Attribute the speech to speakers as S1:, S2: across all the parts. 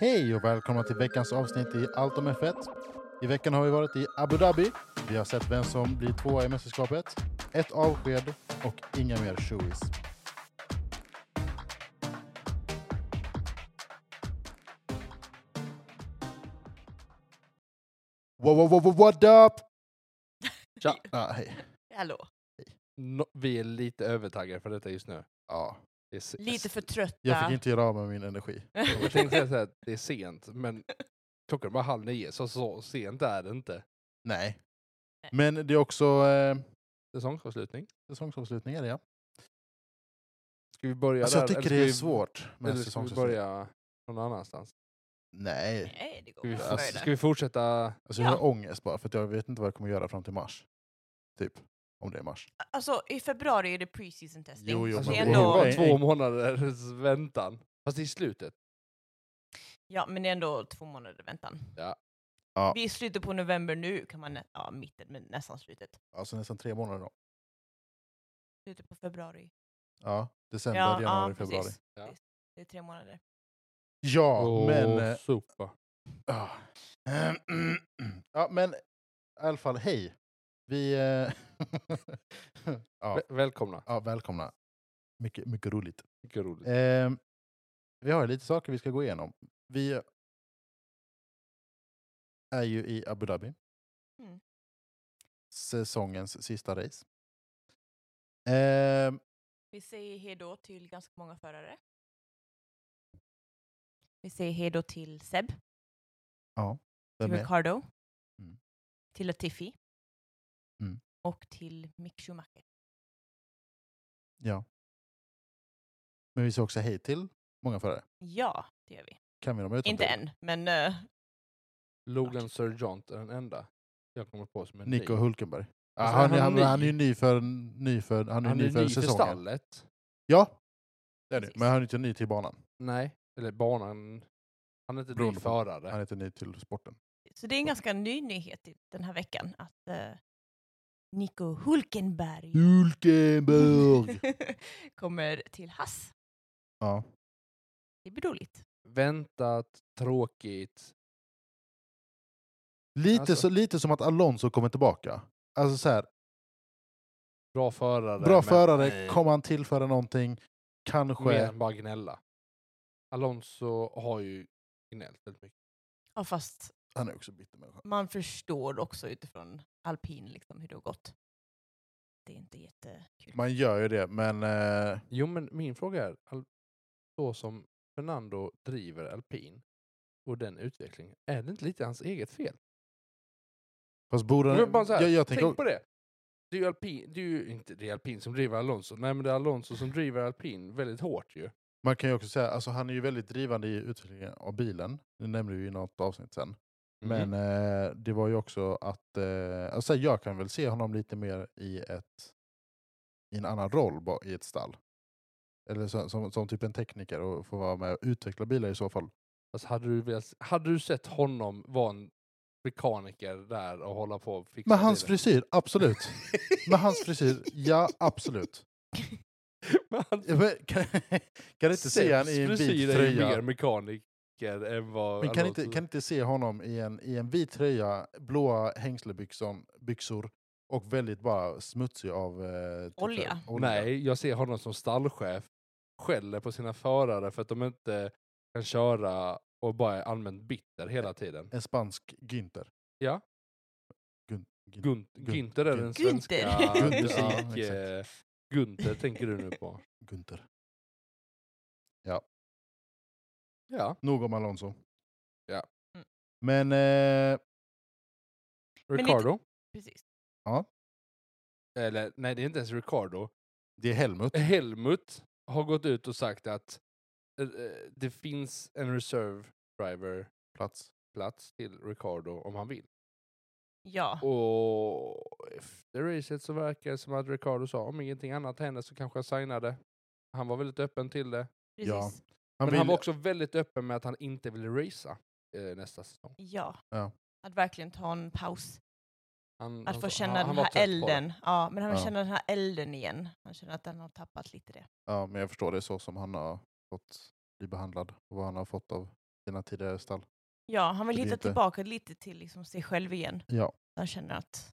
S1: Hej och välkomna till veckans avsnitt i Allt om F1. I veckan har vi varit i Abu Dhabi. Vi har sett vem som blir tvåa i mästerskapet, ett avsked och inga mer shoeys. Wow, wow, wow, wow, what up? Tja. Ah, hej.
S2: Hallå.
S3: No, vi är lite övertaggade för detta just nu.
S1: Ja,
S3: Det är, se-
S2: Lite för
S3: s-
S2: trötta.
S1: jag fick inte göra av med min energi.
S3: Jag tänkte säga så här, det är sent, men klockan är bara halv nio, så, så sent är det inte.
S1: Nej.
S2: Nej.
S1: Men det är också eh,
S3: Säsongsavslutning.
S1: säsongsavslutning är det ja.
S3: Ska vi börja
S1: Alltså
S3: där?
S1: jag tycker
S3: eller
S1: det är
S3: ska
S1: svårt
S3: Vi,
S1: med
S3: eller ska vi
S1: säsongsavslutning.
S3: börja någon annanstans?
S1: Nej,
S2: Nej, det går
S3: Ska vi,
S2: bra.
S1: Alltså,
S2: Börja där.
S3: ska vi fortsätta?
S1: alltså jag har
S2: Ja.
S1: ångest bara för att jag vet inte vad jag kommer göra fram till mars. Typ, om det är mars.
S2: Alltså, i februari är det pre-season testing.
S1: Jo, jo,
S2: så
S3: Alltså,
S2: det
S3: det
S2: är
S1: men
S3: ändå...
S2: ändå,
S1: är-
S3: två månaders väntan. Fast det är i slutet.
S2: ja, men det är ändå två månader väntan.
S3: Ja.
S1: Ja.
S2: Vi är i slutet på november nu, kan man nä- ja, mitten, men nästan slutet.
S1: Alltså nästan tre månader då.
S2: Slutet på februari.
S1: Ja, december,
S2: ja,
S1: januari,
S2: ja,
S1: februari.
S2: Precis.
S3: Ja.
S2: Precis. Det är tre månader.
S1: Ja,
S3: Åh,
S1: men... eh,
S3: sopa.
S1: ah. ja, men i alla fall, hej. Vi... eh, ja,
S3: Väl- Välkomna.
S1: ja, välkomna. Mycket, mycket roligt.
S3: Mycket roligt.
S1: Eh, vi har ju lite saker vi ska gå igenom. Vi är ju i Abu Dhabi.
S2: Mm.
S1: Säsongens sista race. Eh,
S2: Vi säger hejdå till ganska många förare. Vi säger hejdå till Seb,
S1: vem
S2: till
S1: är?
S2: Ricardo,
S1: Mm.
S2: till Latifi
S1: Mm.
S2: och till Mick Schumacher.
S1: Ja. Men vi sa också hej till många förare.
S2: Ja, det gör vi.
S1: Kan vi dem utan
S2: Inte
S1: till?
S2: än, men eh,
S3: Logan Sergeant är den enda jag kommer på som är
S1: Nico
S3: ny.
S1: Hulkenberg. Ja,
S3: Alltså,
S1: han,
S3: han är
S1: han,
S3: ny.
S1: han är ju ny för, ny för, han är
S3: Han är
S1: ny för
S3: ny för
S1: säsongen.
S3: stallet.
S1: Ja, det är det.
S2: Precis.
S1: men han är inte ny till banan.
S3: Nej, eller banan. Han är inte ny
S1: Beroende på-
S3: förare.
S1: Han är inte ny till sporten.
S2: så det är en ganska ny nyhet i den här veckan att eh, Nico Hulkenberg
S1: Hulkenberg!
S2: kommer till Hass.
S1: ja.
S2: Det blir roligt.
S3: Väntat, tråkigt.
S1: lite,
S3: Alltså.
S1: så, lite som att Alonso kommer tillbaka. Alltså så här,
S3: Bra förare.
S1: bra
S3: men-
S1: förare,
S3: Nej.
S1: kommer han tillföra någonting?
S3: Mer
S1: Kanske.
S3: än bara gnälla. Alonso har ju gnällt väldigt mycket.
S2: Ja, fast
S1: Han är också bitter människa.
S2: man förstår också utifrån alpin liksom, hur det har gått. Det är inte jättekul.
S1: Man gör ju det, men eh,
S3: Jo, men min fråga är, Al- så som Fernando driver alpin och den utvecklingen, är det inte lite hans eget fel?
S1: fast borde
S3: Jag, vill
S1: han...
S3: bara så här,
S1: jag, jag
S3: tänk
S1: tänker,
S3: på det. Det är ju alpin, det är ju inte det är alpin som driver Alonso, nej men det är Alonso som driver alpin väldigt hårt ju.
S1: Man kan ju också säga, alltså han är ju väldigt drivande i utvecklingen av bilen. Det nämnde vi ju i något avsnitt sen.
S3: Mhm.
S1: Men eh, det var ju också att, eh, alltså jag kan väl se honom lite mer i, ett, i en annan roll ba- i ett stall. Eller så, som, som typ en tekniker och få vara med och utveckla bilar i så fall.
S3: Alltså, hade, du velat, hade du sett honom vara en mekaniker där och hålla på och fixa
S1: Med hans
S3: bilen?
S1: frisyr, absolut. Med hans frisyr, ja absolut.
S3: Med hans
S1: Ja, men Kan, kan inte se han i en
S3: Sebs frisyr
S1: vit
S3: är ju mer
S1: tröja.
S3: mekaniker än vad...
S1: Men kan
S3: Alonso-
S1: inte, kan inte se honom i en, i en vit tröja, blåa hängslebyxor byxor och väldigt bara smutsig av eh, typ
S2: Olja.
S1: så här
S3: Nej, jag ser honom som stallchef. Skäller på sina förare för att de inte kan köra och bara är allmänt bitter hela tiden.
S1: En spansk Günther.
S3: Ja.
S1: Gun, Gun,
S3: Gun-
S1: Gun-
S3: Günther är
S1: Gun-
S3: den svenska
S2: Günther.
S1: Günther, ja,
S3: musik... eh, Günther tänker du nu på.
S1: Günther.
S3: Ja.
S1: Nog om Alonso.
S3: Ja.
S2: Mm.
S1: Men eh,
S2: Men inte-
S3: Ricardo?
S2: Precis.
S3: Eller nej, det är inte ens Ricardo.
S1: det är Helmut.
S3: Helmut har gått ut och sagt att eh, eh, det finns en reserve driver
S1: Plats.
S3: plats till Ricardo om han vill.
S2: Ja,
S3: Och efter racet så verkar det som att Ricardo sa om ingenting annat hände så kanske jag signade. Han var väldigt öppen till det.
S2: precis.
S1: ja.
S2: Ja.
S3: Men
S1: vill-
S3: han var också väldigt öppen med att han inte ville racea eh, nästa säsong.
S1: Ja.
S2: Att verkligen ta en paus.
S3: Han,
S2: Att få
S3: han, sa-
S2: känna
S3: han,
S2: den
S3: han var
S2: här
S3: trött på det.
S2: elden. Ja, men han vill
S1: Ja.
S2: känna den här elden igen. Han känner att han har tappat lite det.
S1: Ja, men jag förstår det är så som han har fått bli behandlad och vad han har fått av sina tidigare stall.
S2: Ja, han vill
S1: Så det är
S2: hitta
S1: inte-
S2: tillbaka lite till liksom sig själv igen.
S1: Ja.
S2: Han känner att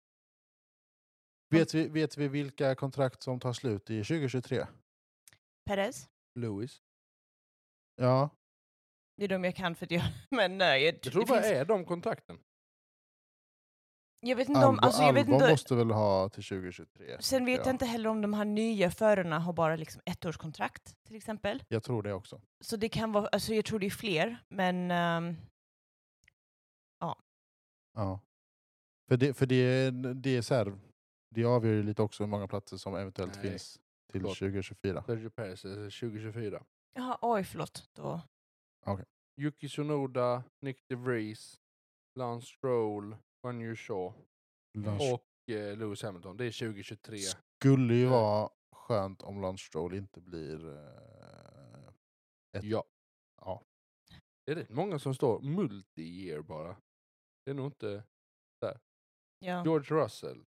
S2: Mm.
S1: Vet vi, vet vi vilka kontrakt som tar slut i 2023?
S2: Perez,
S3: Lewis.
S1: Ja,
S2: det är de jag kan för att jag men nej, jag,
S3: Jag tror
S2: det
S3: bara
S2: finns-
S3: är de kontrakten.
S2: jag vet inte om,
S1: Alba,
S2: alltså jag vet
S1: Alba
S2: inte,
S1: måste väl ha till 2023?
S2: sen vet
S1: ja.
S2: jag inte heller om de här nya förarna har bara liksom ettårskontrakt till exempel.
S1: Jag tror det också.
S2: Så det kan vara, alltså jag tror det är fler, men ehm,
S1: Ja. För det, för det, det är så här, det avgör ju lite också hur många platser som eventuellt
S3: Nej,
S1: finns till
S3: förlåt.
S1: 2024.
S3: Sergio Perez eh, 2024.
S2: jaha, oj förlåt. Då.
S3: Yuki Tsunoda, Nick DeVries, Lance Stroll, Guan Yu Shaw
S1: Lars
S3: och eh, Lewis Hamilton. Det är 2023.
S1: skulle ju
S3: Eh.
S1: vara skönt om Lance Stroll inte blir... eh, Ett-
S3: Ja.
S1: Ja.
S3: Det är rätt många som står multi-year bara. Det är nog inte...
S2: Ja.
S3: George Russell.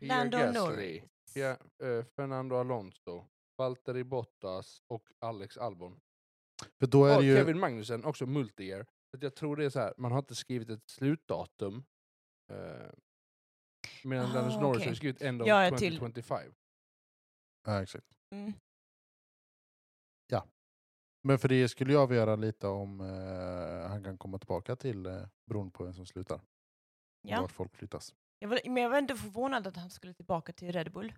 S3: Pierre
S2: Lando
S3: Gasly.
S2: Norris.
S3: Pierre, eh, Fernando Alonso. Valtteri Bottas och Alex Albon.
S1: För då är
S3: Och
S1: det ju...
S3: Kevin Magnussen, också multi-year. Så att jag tror det är så här, man har inte skrivit ett slutdatum. Eh, medan
S2: Ah,
S3: Lando Norris har
S2: okej.
S3: ju skrivit end of
S2: Ja, ja, till-
S3: 2025.
S1: Ja, exakt.
S2: Mm.
S1: Men för det skulle jag avgöra lite om eh, han kan komma tillbaka till eh, beroende på vem som slutar. och
S2: Ja.
S1: Vart folk flyttas.
S2: Jag var, men jag var ändå förvånad att han skulle tillbaka till Red Bull.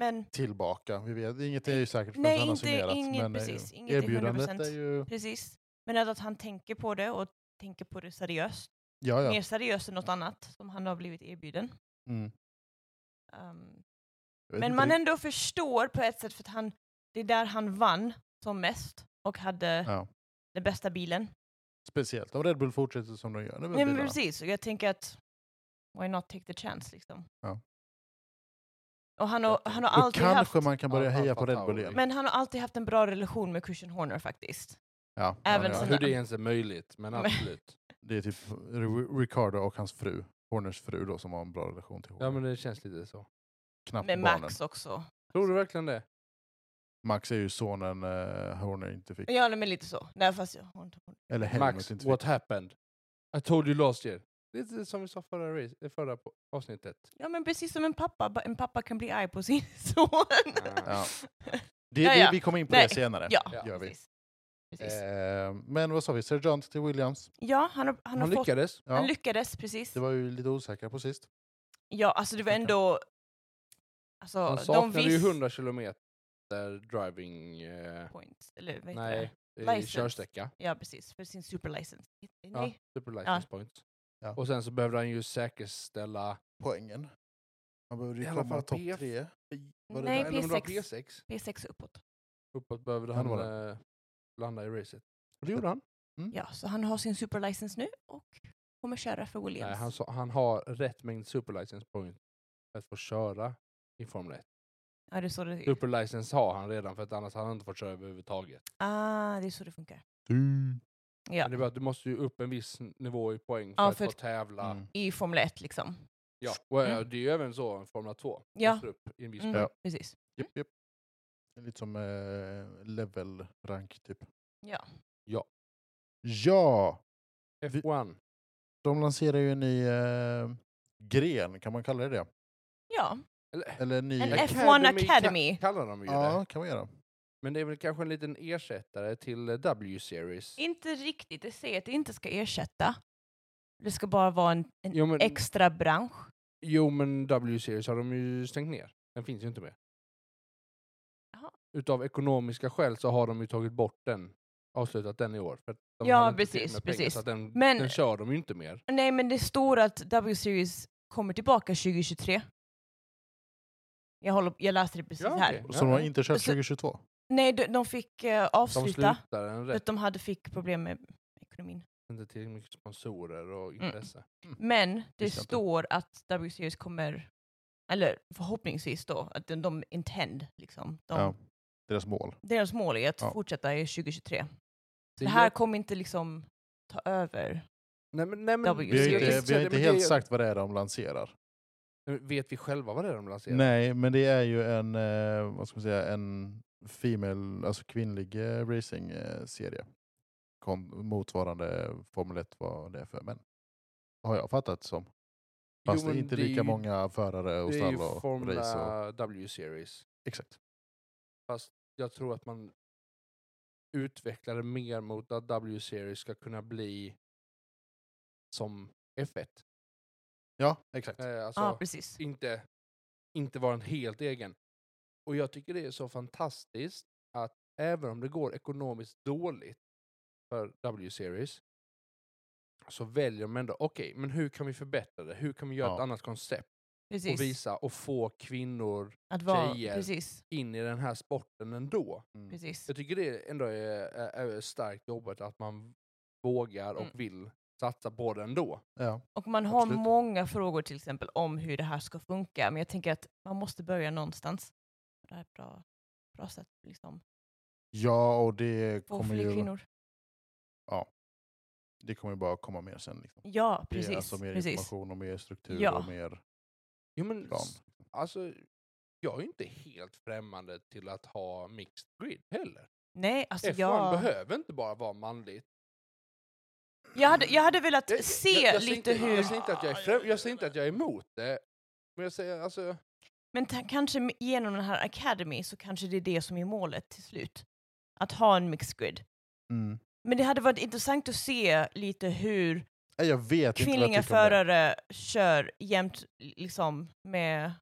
S2: Men
S1: Tillbaka, vi vet. Inget är ju säkert förrän
S2: Eh, Nej,
S1: han har
S2: inte-
S1: summerat.
S2: inget-
S1: men eh,
S2: precis, inget är
S1: erbjudandet
S2: 100%.
S1: är ju...
S2: precis. Men att, att han tänker på det och tänker på det seriöst.
S1: Ja, ja.
S2: Mer seriöst än något annat som han har blivit erbjuden.
S1: Mm.
S2: Ehm,
S1: Jag vet
S2: men
S1: inte
S2: man
S1: riktigt.
S2: ändå förstår på ett sätt för att han, det är där han vann som mest och hade
S1: Ja.
S2: den bästa bilen.
S1: Speciellt om Red Bull fortsätter som de gör nu med
S2: Nej men
S1: bilarna.
S2: precis, och jag tänker att why not take the chance liksom.
S1: Ja.
S2: Och han har,
S3: Okej.
S2: han har
S1: Då
S2: alltid haft...
S1: kanske man kan börja
S3: Al-
S1: heja
S3: Alfa
S1: på Red Bull
S3: Tauri.
S1: igen.
S2: Men han har alltid haft en bra relation med Christian Horner faktiskt.
S1: ja,
S2: även
S1: ja,
S3: Ja,
S1: ja.
S2: sen-
S3: hur det ens är möjligt, men
S2: Men-
S3: absolut.
S1: Det är typ Ri- Ricardo och hans fru, Horners fru då, som har en bra relation till Horner.
S3: Ja men det känns lite så.
S1: Knappt
S2: Med
S1: barnen.
S2: Max också.
S3: Tror du verkligen det?
S1: Max är ju sonen eh, Horner inte fick.
S2: Ja, men lite så. Nej, fast jag har inte
S1: Eller Helmut
S3: Max,
S1: inte
S3: what
S1: fick.
S3: happened? I told you last year. Det är som vi sa förra, race, eh, förra på- avsnittet.
S2: Ja, men precis som en pappa. ba- En pappa kan bli arg på sin son.
S3: Ah.
S1: Ja. Det,
S2: Ja, ja.
S1: Vi, vi kommer in på
S2: Nej.
S1: det senare.
S2: Ja,
S3: Ja.
S1: Gör vi.
S2: precis. precis.
S1: Eh, men vad sa vi? Sergeant till Williams.
S2: ja, han har, han
S3: Han,
S2: har fått...
S3: lyckades.
S1: Ja,
S2: Han lyckades, precis.
S1: Det var ju lite osäkra på sist.
S2: Ja, alltså det var ändå... Alltså,
S3: Han
S2: de
S3: saknade ju
S2: visste...
S3: 100 kilometer driving... Eh,
S2: points, eller vad heter
S3: nej, i
S2: License.
S3: körsträcka.
S2: det? Ja, precis. För sin superlicense.
S3: Ja,
S2: Nej.
S3: super license points.
S1: Ja.
S3: Och sen så behövde han ju säkerställa...
S1: Poängen. Man behövde
S3: I
S1: ju
S3: alla
S1: komma
S3: fall
S1: topp
S3: P4.
S1: tre. Var det
S2: Nej,
S1: där?
S3: Eller om det var
S2: P6.
S3: P6.
S2: P6 och uppåt.
S3: Mm. Uppåt behövde
S1: Kan
S3: han
S1: det
S3: eh, landa i racet. Och det gjorde han.
S2: Ja, så han har sin superlicense nu och kommer köra för Williams.
S3: Nej, han, sa- han har rätt mängd super license points för att få köra i Formel 1.
S2: Ja, det är så det
S3: Super license har han redan för att annars hade han inte fått köra överhuvudtaget.
S2: Ah, det är så det funkar.
S1: Mm.
S2: Ja.
S3: Men det är bara att du måste ju upp en viss n- nivå i poäng för
S2: Ja,
S3: att
S2: för
S3: få
S2: att-
S3: tävla.
S1: Mm.
S2: I Formel 1 liksom.
S3: Ja. Och, eh,
S2: Mm.
S3: Det är ju även så i Formel 2.
S2: Ja.
S3: Måste upp i en viss
S2: Mm,
S3: poäng.
S1: Ja.
S2: Precis.
S1: Japp, japp. Det är Lite som eh, level rank typ.
S2: Ja.
S3: Ja.
S1: Ja! Vi-
S3: F1.
S1: De lanserar ju en ny eh, gren, kan man kalla det det?
S2: Ja,
S3: Eller,
S1: Eller en ny...
S2: en
S3: Academy
S2: F1
S3: ka-
S2: Academy.
S3: kallar de ju
S1: ja,
S3: det.
S1: kan man göra.
S3: Men det är väl kanske en liten ersättare till eh, W-series.
S2: Inte riktigt. Det säger att det inte ska ersätta. Det ska bara vara en, en
S3: Jo men,
S2: extra bransch.
S3: jo men W-series har de ju stängt ner. Den finns ju inte mer.
S2: Jaha.
S3: Utav ekonomiska skäl så har de ju tagit bort den. Avslutat den i år. För att de
S2: Ja,
S3: hade inte
S2: precis,
S3: tillräckligt med pengar,
S2: precis.
S3: Så att den,
S2: Men-
S3: den kör de ju inte mer.
S2: Nej, men det står att W-Series kommer tillbaka 2023. Jag, håller, jag läste det precis
S3: Ja,
S2: här.
S3: okej.
S1: Så de har
S3: Ja.
S1: inte kört
S2: Så-
S1: 2022?
S2: Nej, de, de fick eh,
S3: De
S2: avsluta.
S3: slutar den
S2: för
S3: rätt.
S2: att de hade fick problem med ekonomin.
S3: Inte tillräckligt mycket sponsorer och
S2: Mm.
S3: intresse.
S2: Men det
S1: Visste jag inte.
S2: står att W-Series kommer, eller förhoppningsvis då, att de, de intend, liksom. De,
S1: Ja. Deras mål?
S2: Deras mål är att
S1: Ja.
S2: fortsätta i 2023.
S3: Det
S2: Det, här
S3: gör-
S2: kommer inte liksom ta över.
S3: Nej, men, nej, men,
S2: W
S1: Vi har ju
S2: Jag kan
S1: inte,
S2: inte
S1: vi har
S3: Nej,
S1: inte
S3: men
S1: helt
S3: det-
S1: sagt vad det är de lanserar.
S3: Vet vi själva vad det är de lanserar?
S1: Nej, men det är ju en, eh, vad ska man säga, en female, alltså kvinnlig eh, racing-serie. Kon- motsvarande Formel 1 vad det är för män. Har jag fattat som. Fast det är
S3: men
S1: inte
S3: det är
S1: lika
S3: ju-
S1: många förare och
S3: Det är
S1: stall
S3: ju
S1: och race. Och,
S3: Formula W-series.
S1: exakt.
S3: Fast jag tror att man utvecklar det mer mot att W-series ska kunna bli som F1.
S1: Ja, exakt.
S3: Eh, alltså,
S2: Ja, precis.
S3: inte, inte vara en helt egen. Och jag tycker det är så fantastiskt att även om det går ekonomiskt dåligt för W-series så väljer de ändå, okej, men hur kan vi förbättra det? Hur kan vi göra ett
S1: Ja.
S3: annat koncept och
S2: precis.
S3: visa och få kvinnor
S2: Att vara,
S3: tjejer. Mm.
S2: precis.
S3: in i den här sporten ändå?
S1: Mm.
S2: precis.
S3: Jag tycker det ändå är, är, är starkt jobbat att man vågar och
S2: Mm.
S3: vill satsa på det ändå.
S1: Ja.
S2: Och man har
S1: Absolut.
S2: många frågor till exempel om hur det här ska funka, men jag tänker att man måste börja någonstans. Det här är ett bra, bra sätt liksom.
S1: ja, och det
S2: Få
S1: kommer,
S2: fler
S1: ju,
S2: kvinnor.
S1: det kommer ju bara komma mer sen. Liksom.
S2: Ja,
S1: Det är
S2: precis.
S1: Alltså mer
S2: precis.
S1: information och mer struktur
S2: Ja.
S1: och mer
S3: Jo, men
S1: plan.
S3: s- alltså, jag är inte helt främmande till att ha mixed grid heller.
S2: Nej, alltså
S3: F1
S2: jag...
S3: behöver inte bara vara manligt.
S2: Jag hade, jag hade velat
S3: Jag- jag-
S2: se
S3: jag- jag säger
S2: lite
S3: inte,
S2: hur...
S3: Jag säger inte att jag är, främ- jag säger inte att jag är emot det. Men jag säger alltså,
S2: Men ta- kanske med- genom den här Academy så kanske det är det som är målet till slut. Att ha en mixed grid.
S1: Mm.
S2: Men det hade varit intressant att se lite hur
S1: Nej, Jag vet inte vad
S2: kvinnliga
S1: jag tycker om det.
S2: förare kör jämt liksom med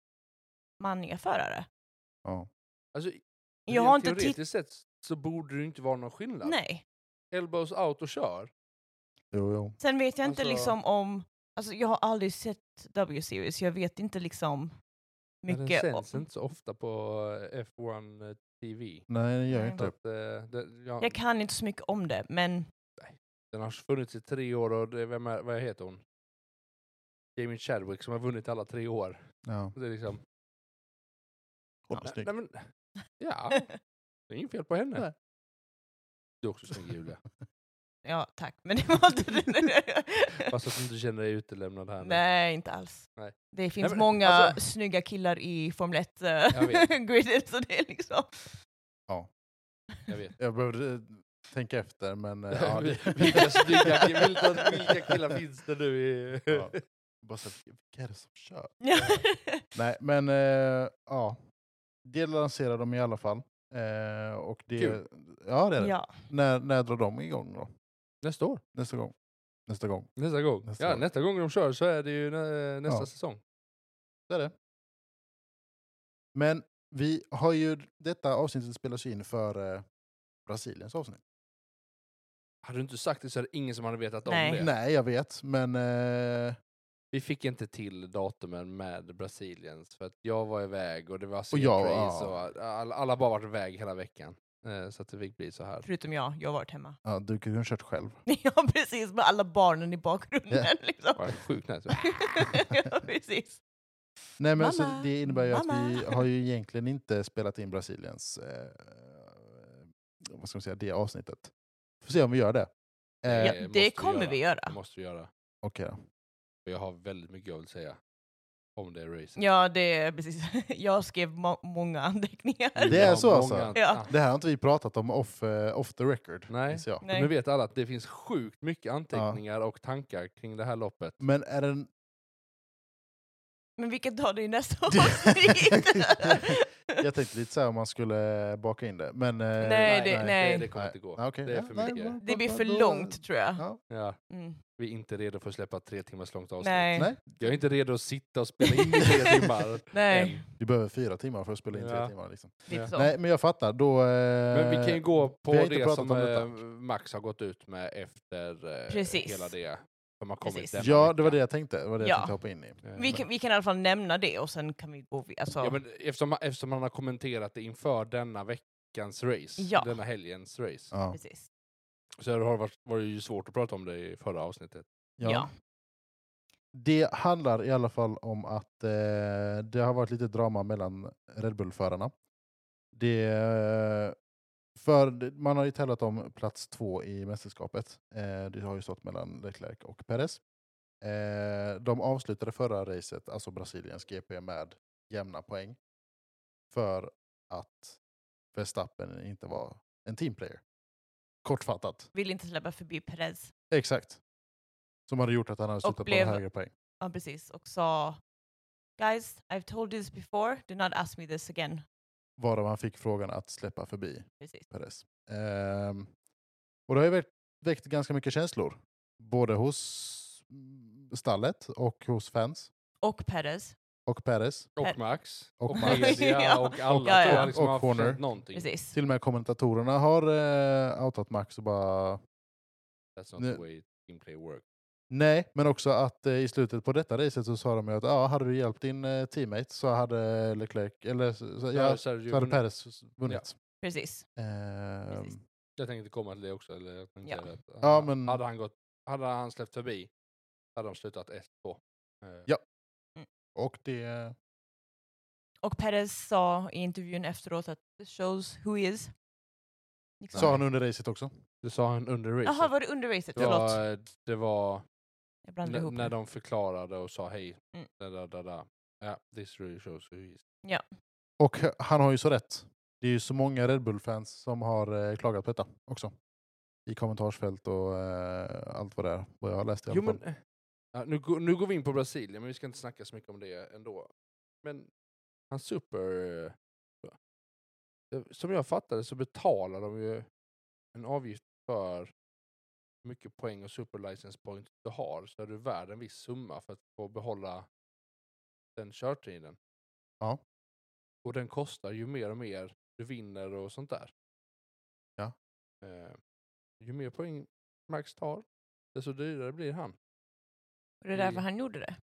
S2: manliga förare.
S1: Ja.
S3: alltså
S2: Jag
S3: rent
S2: har inte tittat...
S3: teoretiskt sett så borde det inte vara någon skillnad.
S2: Nej.
S3: Elbows out och kör.
S1: Jo, jo.
S2: Sen vet jag inte
S3: Alltså-
S2: liksom om... Alltså jag har aldrig sett W-series, jag vet inte liksom
S3: Men
S2: mycket
S3: den
S2: om...
S3: sänds inte så ofta på eh, F1 eh, TV.
S1: Nej, det gör
S2: Nej.
S1: jag inte.
S3: Så att, eh, den, ja,
S2: Jag kan inte så mycket om det, men
S3: den har funnits i tre år och det, vem är, vad heter hon? Jamie Chadwick som har vunnit alla tre år.
S1: Ja.
S3: Det är liksom,
S1: Hon är
S3: nej,
S1: snygg.
S3: nej, men, ja, det är inget fel på henne.
S1: Nej.
S3: Du är också snygg Julia.
S2: ja tack. Men det var inte...
S3: Fast att du inte känner dig utelämnad här nu.
S2: Nej, inte alls.
S3: Nej.
S2: Det finns
S3: Nej, men,
S2: många
S3: alltså-
S2: snygga killar i Formel
S3: vet.
S2: 1-gridet, så det är liksom...
S3: Jag vet.
S1: Jag behövde eh, tänka efter, men... eh, Ja, det...
S3: vilka, snygga, vilka, vilka killar finns det nu i...
S1: Ja. Bara så, här, vilka är det som kör?
S2: Ja.
S1: Nej, men eh, ja. Det lanserar de i alla fall. Eh, och det,
S3: Kul.
S1: Ja, det är det.
S2: ja.
S1: När, när drar de igång då?
S3: Nästa år.
S1: Nästa gång? Nästa gång.
S3: Nästa gång.
S1: Nästa
S3: ja,
S1: gång.
S3: nästa gång de kör så är det ju nä, nästa
S1: Ja.
S3: säsong.
S1: Det är det. Men vi har ju... Detta avsnittet spelas ju in för eh, Brasiliens avsnitt.
S3: Hade du inte sagt det så är det ingen som hade vetat
S2: Nej.
S3: om det.
S1: Nej, jag vet, men... Eh,
S3: Vi fick inte till datumen med Brasiliens för att jag var iväg och det var
S1: Och jag,
S3: C-Trace
S1: ja.
S3: och alla, alla bara varit iväg hela veckan. Eh, Så att det fick bli så här.
S2: Förutom jag, jag har varit hemma.
S1: ja, du kunde ha kört själv.
S2: Ja, precis, med alla barnen i bakgrunden.
S1: Ja.
S2: Liksom.
S3: Det var sjukt nice.
S2: ja, precis.
S1: Nej, men så
S2: Mamma,
S1: det innebär ju att vi
S2: mamma.
S1: har ju egentligen inte spelat in Brasiliens... Eh, vad ska man säga? Det avsnittet. Får se om vi gör det. Eh,
S2: Ja,
S3: Eh, måste vi Mm.
S2: det kommer vi
S3: Det
S2: göra.
S3: måste vi göra.
S1: Okej då.
S3: För jag har väldigt mycket jag vill säga om det racet.
S2: Ja, det är precis. Jag skrev må- många anteckningar.
S1: Det är
S3: Jag har
S1: så alltså?
S3: många-
S2: Ja.
S1: Det här har inte vi pratat om off, eh, off the record.
S3: Nej.
S1: minns Jag.
S2: Nej.
S3: Nu vet alla att det finns sjukt mycket anteckningar och tankar kring det här loppet.
S1: Men är den...
S2: Men vi kan ta det i nästa
S1: Det-
S2: avsnitt.
S1: Jag tänkte lite så här om man skulle baka in det. Men, eh,
S2: Nej, det- nej.
S3: Det, det kommer inte gå.
S1: Ah, okej.
S3: Det är för
S1: nej,
S3: mycket.
S1: bra,
S2: det blir
S1: bra,
S2: för
S1: då-
S2: långt, tror jag.
S1: Ja.
S3: Ja,
S2: Mm.
S3: vi är inte redo för att släppa tre timmars långt avsnitt.
S2: Nej.
S1: Nej,
S3: Jag är inte redo att sitta och spela in i tre timmar.
S2: Nej,
S1: vi behöver fyra timmar för att spela in
S3: Ja.
S1: tre timmar. Liksom.
S2: lite
S3: Ja.
S2: så.
S1: Nej, men jag fattar. Då, eh,
S3: Men vi kan ju gå på
S1: vi har inte
S3: det
S1: pratat
S3: som
S1: om detta.
S3: eh, Max har gått ut med efter eh,
S2: Precis.
S3: hela det som har kommit
S2: Precis.
S3: denna
S1: Ja, det var det
S3: vecka.
S1: jag tänkte. Det var det
S2: Ja.
S1: jag tänkte hoppa in i.
S3: Eh,
S2: Vi kan, vi kan i alla fall nämna det och sen kan vi gå vid- alltså,
S3: ja, men eftersom, eftersom han har kommenterat det inför denna veckans race,
S2: Ja.
S3: denna helgens race,
S1: Ja.
S2: precis.
S3: så har det varit, var det ju svårt att prata om det i förra avsnittet.
S2: Ja.
S1: Det handlar i alla fall om att eh, det har varit lite drama mellan Red Bull-förarna. Det, eh, för, man har ju tävlat om plats två i mästerskapet. Eh, det har ju stått mellan Leclerc och Perez. Eh, de avslutade förra racet, alltså Brasiliens GP, med jämna poäng. För att Verstappen inte var en teamplayer. Kortfattat.
S2: Vill inte släppa förbi Perez.
S1: Exakt. Som hade gjort att han hade slutat
S2: blev-
S1: på en högre poäng.
S2: Ja, precis. Och sa Guys, I've told you this before, do not ask me this again.
S1: Varav han fick frågan att släppa förbi
S2: Precis.
S1: Perez. Ehm, och det har ju väckt, väckt ganska mycket känslor. Både hos mm, stallet och hos fans.
S2: Och Perez.
S1: Och Perez.
S2: Per-
S3: Och Max.
S1: Och
S3: Och
S1: Max.
S3: media
S2: Ja.
S3: och alla.
S2: Ja,
S3: tror
S2: ja.
S3: jag Liksom
S1: Och
S3: har
S1: Horner.
S3: försökt Någonting.
S2: Precis.
S1: Till och med kommentatorerna har eh, outat Max och bara
S3: That's not
S1: Nu-
S3: the way team play work.
S1: nej. Men också att eh, i slutet på detta racet så sa de ju att ah, hade du hjälpt din eh, teammate så hade Leclerc, eller så, så, ja,
S3: Sergio,
S1: så hade
S3: Gun-
S1: Perez vunnit.
S2: Precis.
S1: Ehm,
S2: Precis.
S3: Jag tänkte komma till det också. Eller jag tänkte
S2: Ja.
S3: säga det.
S1: Ja,
S3: Han-
S1: men-
S3: hade, han gått, hade han släppt förbi hade de slutat 1-2. Eh,
S1: Ja. och det...
S2: Och Perez sa i intervjun efteråt att this shows who he is. Liksom.
S1: Sa han under racet också.
S3: Det sa han under racet.
S2: Jaha, var det under racet?
S3: det
S2: Förlåt.
S3: var, eh, det var
S2: Jag blandade
S3: n-
S2: ihop.
S3: när
S2: det.
S3: de förklarade och sa hej.
S2: Mm.
S3: Da, da, da, da. Ja, this really shows who he is.
S1: Och h- han har ju så rätt. Det är ju så många Red Bull-fans som har eh, klagat på detta också. I kommentarsfält och eh, allt vad det är. Vad jag har läst i alla
S3: Jo,
S1: fall.
S3: men, eh, ja, nu, går- nu går vi in på Brasilien, men vi ska inte snacka så mycket om det ändå. Men han super... eh, eh, Som jag fattade så betalar de ju en avgift för hur mycket poäng och super license point du har, så är du värd en viss summa för att få behålla den körtiden.
S1: Ja.
S3: Och den kostar ju mer och mer du vinner och sånt där.
S1: Ja.
S3: Eh, ju mer poäng Max tar, desto dyrare blir han.
S2: Var det därför han gjorde det?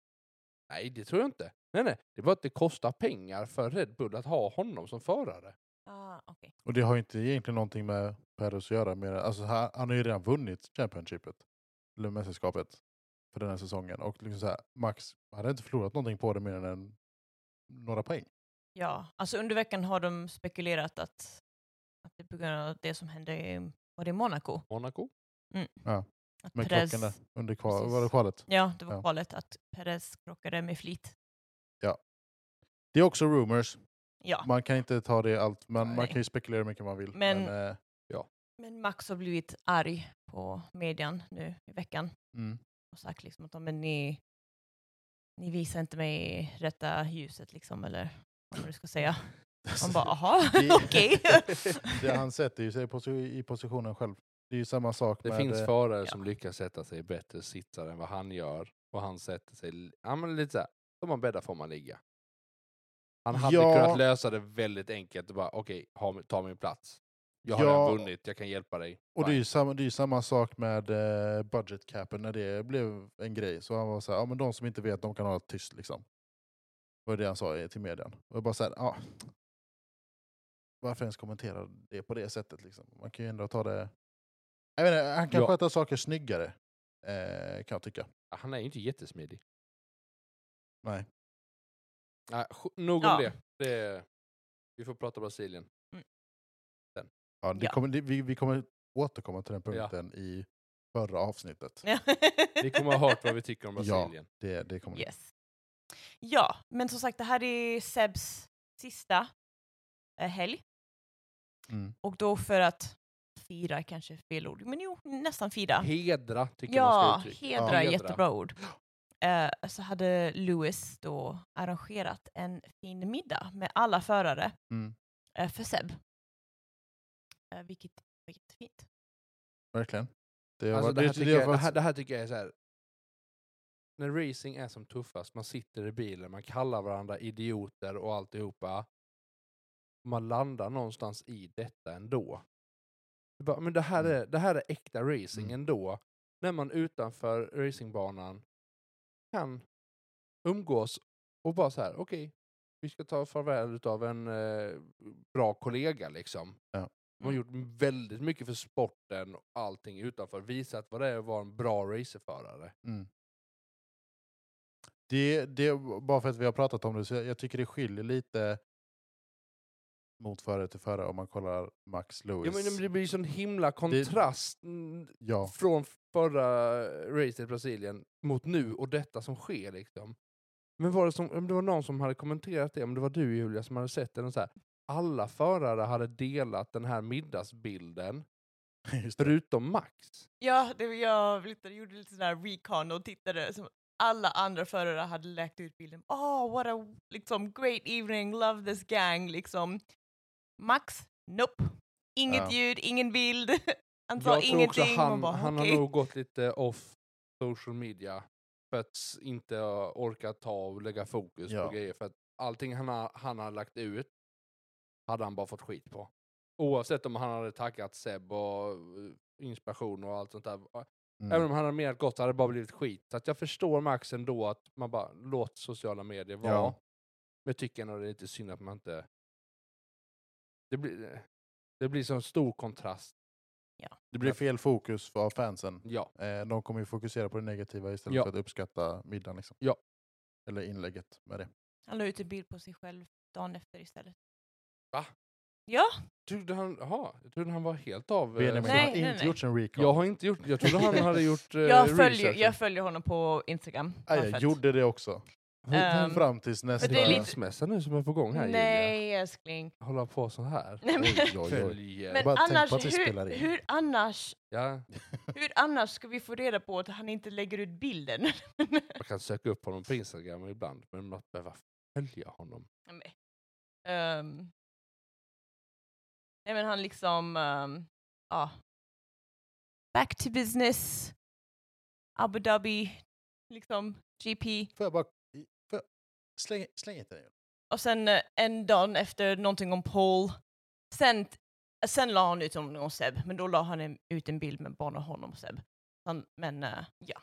S3: Nej, det tror jag inte. Nej, nej. Det var att det kostar pengar för Red Bull att ha honom som förare.
S2: Ah, okej.
S1: Och det har ju inte egentligen någonting med Perez att göra. Mer. Alltså, han, han har ju redan vunnit Championshipet, eller mästerskapet, för den här säsongen. Och liksom så här, Max hade inte förlorat någonting på det mer än en, några poäng.
S2: Ja, alltså under veckan har de spekulerat att, att det är på grund av det som hände i, var det i Monaco.
S3: Monaco?
S2: Att
S1: Men
S2: Perez,
S1: klockan där under kval,
S2: Precis.
S1: var det kvalet.
S2: Ja, det var
S1: Ja.
S2: kvalet att Perez krockade med flit.
S1: Det är också rumors.
S2: Ja,
S1: Man kan inte ta det allt, men man
S2: Nej.
S1: kan ju spekulera hur mycket man vill.
S2: Men-
S1: eh,
S2: men Max har blivit arg på median nu i veckan
S1: mm.
S2: och sagt liksom att "Ja, men ni, ni visar inte mig rätta ljuset liksom eller vad du ska säga. Man bara, aha,
S1: Det-
S2: okej.
S1: det, han sätter ju sig posi- i positionen själv. Det är ju samma sak
S3: Det
S1: med...
S3: finns
S1: eh,
S3: förare
S2: ja.
S3: som lyckas sätta sig i bättre sitsar än vad han gör. Och han sätter sig l- ja, men lite så här. Som man bäddar får man ligga. Han hade
S1: Ja.
S3: kunnat lösa det väldigt enkelt och bara okej, ha- ta min plats. Jag har
S1: Ja.
S3: redan vunnit, jag kan hjälpa dig.
S1: Och det är ju samma, det är ju samma sak med eh, budget capen när det blev en grej. Så han var så här, ja men de som inte vet de kan ha tyst liksom. Var det han sa i- till median. Och jag bara så här, ja. Varför ens kommentera det på det sättet liksom? Man kan ju ändå ta det... Jag vet inte, han kan
S3: Ja.
S1: sköta saker snyggare. Eh, kan jag tycka.
S3: Han är ju inte jättesmidig.
S1: Nej.
S3: Nej, sk- nog om
S2: Ja.
S3: det. det. Vi får prata Brasilien.
S1: Ja, det
S2: Ja.
S1: Kommer, det, vi, vi kommer återkomma till den punkten i förra avsnittet.
S3: Ni kommer ha hört vad vi tycker om
S1: Ja.
S3: Brasilien.
S1: Det, det kommer ni.
S2: Yes. Ja, men som sagt, det här är Sebs sista eh, helg.
S1: Mm.
S2: Och då för att fira kanske är fel ord, men jo, nästan fira.
S3: Hedra tycker jag man
S2: Ja,
S3: ska uttrycka.
S2: hedra,
S1: Ja.
S2: är jättebra ord. Eh, så hade Lewis då arrangerat en fin middag med alla förare
S1: Mm.
S2: eh, för Seb. Eh, vilket var jättefint.
S1: Verkligen. Det, har
S3: Alltså,
S1: varit-
S3: det,
S1: det- det
S3: här tycker
S1: har
S3: jag, det,
S1: varit-
S3: här, det här tycker jag är så här. När racing är som tuffast, man sitter i bilen, man kallar varandra idioter och alltihopa. Man landar någonstans i detta ändå. Det bara, Men det här,
S1: Mm.
S3: är, det här är äkta racing
S1: Mm.
S3: ändå. När man utanför racingbanan kan umgås och bara så här, okej, vi ska ta farväl av en eh, bra kollega liksom.
S1: Ja.
S3: De har
S2: Mm.
S3: gjort väldigt mycket för sporten och allting utanför. Visat vad det är att vara en bra racerförare.
S1: Mm. Det, det, bara för att vi har pratat om det, så jag, jag tycker det skiljer lite mot förare till förare om man kollar Max
S3: Ja,
S1: Lewis.
S3: men det blir ju sån himla kontrast mm,
S1: ja,
S3: från förra racet i Brasilien mot nu och detta som sker. Liksom. Men var det, som, om det var någon som hade kommenterat det, om det var du Julia som hade sett det, och så här, alla förare hade delat den här middagsbilden,
S1: Just det.
S3: förutom Max.
S2: Ja, det, jag lite, gjorde lite sån där recon och tittade. Som alla andra förare hade läckt ut bilden. Oh, what a liksom, great evening, love this gang. Liksom. Max, nope. Inget
S1: Ja.
S2: ljud, ingen bild. Han sa
S3: Jag tror också
S2: ingenting. Man
S3: han,
S2: bara,
S3: han har
S2: okej.
S3: nog gått lite off social media för att s- inte uh, orka ta och lägga fokus
S1: Ja.
S3: på grejer. För att allting han har, han har lagt ut hade han bara fått skit på. Oavsett om han hade taggat Seb och uh, inspiration och allt sånt där. Även
S1: Mm.
S3: om han hade mer gott så hade det bara blivit skit. Så att jag förstår Max ändå att man bara låt sociala medier vara.
S1: Ja.
S3: Men jag tycker ändå det är lite synd att man inte... Det blir, eh, det blir så en stor kontrast.
S1: Det blir fel fokus för fansen.
S3: Ja.
S1: Eh, de kommer ju fokusera på det negativa istället
S3: Mm. Ja.
S1: för att uppskatta middagen. Liksom.
S3: Ja. Eh,
S1: Eller inlägget med det.
S2: Han la ut en bild på sig själv dagen efter istället.
S3: Va?
S2: Ja,
S3: Trodde han, aha, jag trodde han var helt av... eh,
S1: Benjamin
S2: Nej,
S1: har
S2: nej,
S1: inte
S2: nej.
S1: gjort sin recon.
S3: Jag har inte gjort... Jag trodde han hade gjort eh,
S2: jag, följer,
S3: researchen.
S2: jag följer honom på Instagram.
S1: Aj,
S2: Bara för
S1: jag
S2: att-
S1: gjorde det också.
S2: Ehm,
S1: Fram tills nästa...
S3: Är
S2: det är lite-
S3: skilsmässa Alltså, nu som är på gång här Julia?
S2: Nej, älskling.
S3: Hålla på så här.
S2: Nej, men-
S1: Oj, oj, oj.
S3: Följer.
S2: Men
S1: bara tänk på
S2: annars,
S1: att vi spelar
S2: hur,
S1: in.
S2: hur annars
S3: Ja,
S2: Hur annars ska vi få reda på att han inte lägger ut bilden?
S3: man kan söka upp honom på Instagram ibland, men man behöver följa honom.
S2: Ehm. nej men han liksom, ehm, ja. Back to business, Abu Dhabi, liksom GP.
S1: Får jag bara... Får jag... Släng, släng inte den.
S2: Och sen eh, en dag efter någonting om Paul. Sen, eh, sen la han ut om någon Seb, men då la han en, ut en bild med bara honom och Seb. Han, men eh, ja.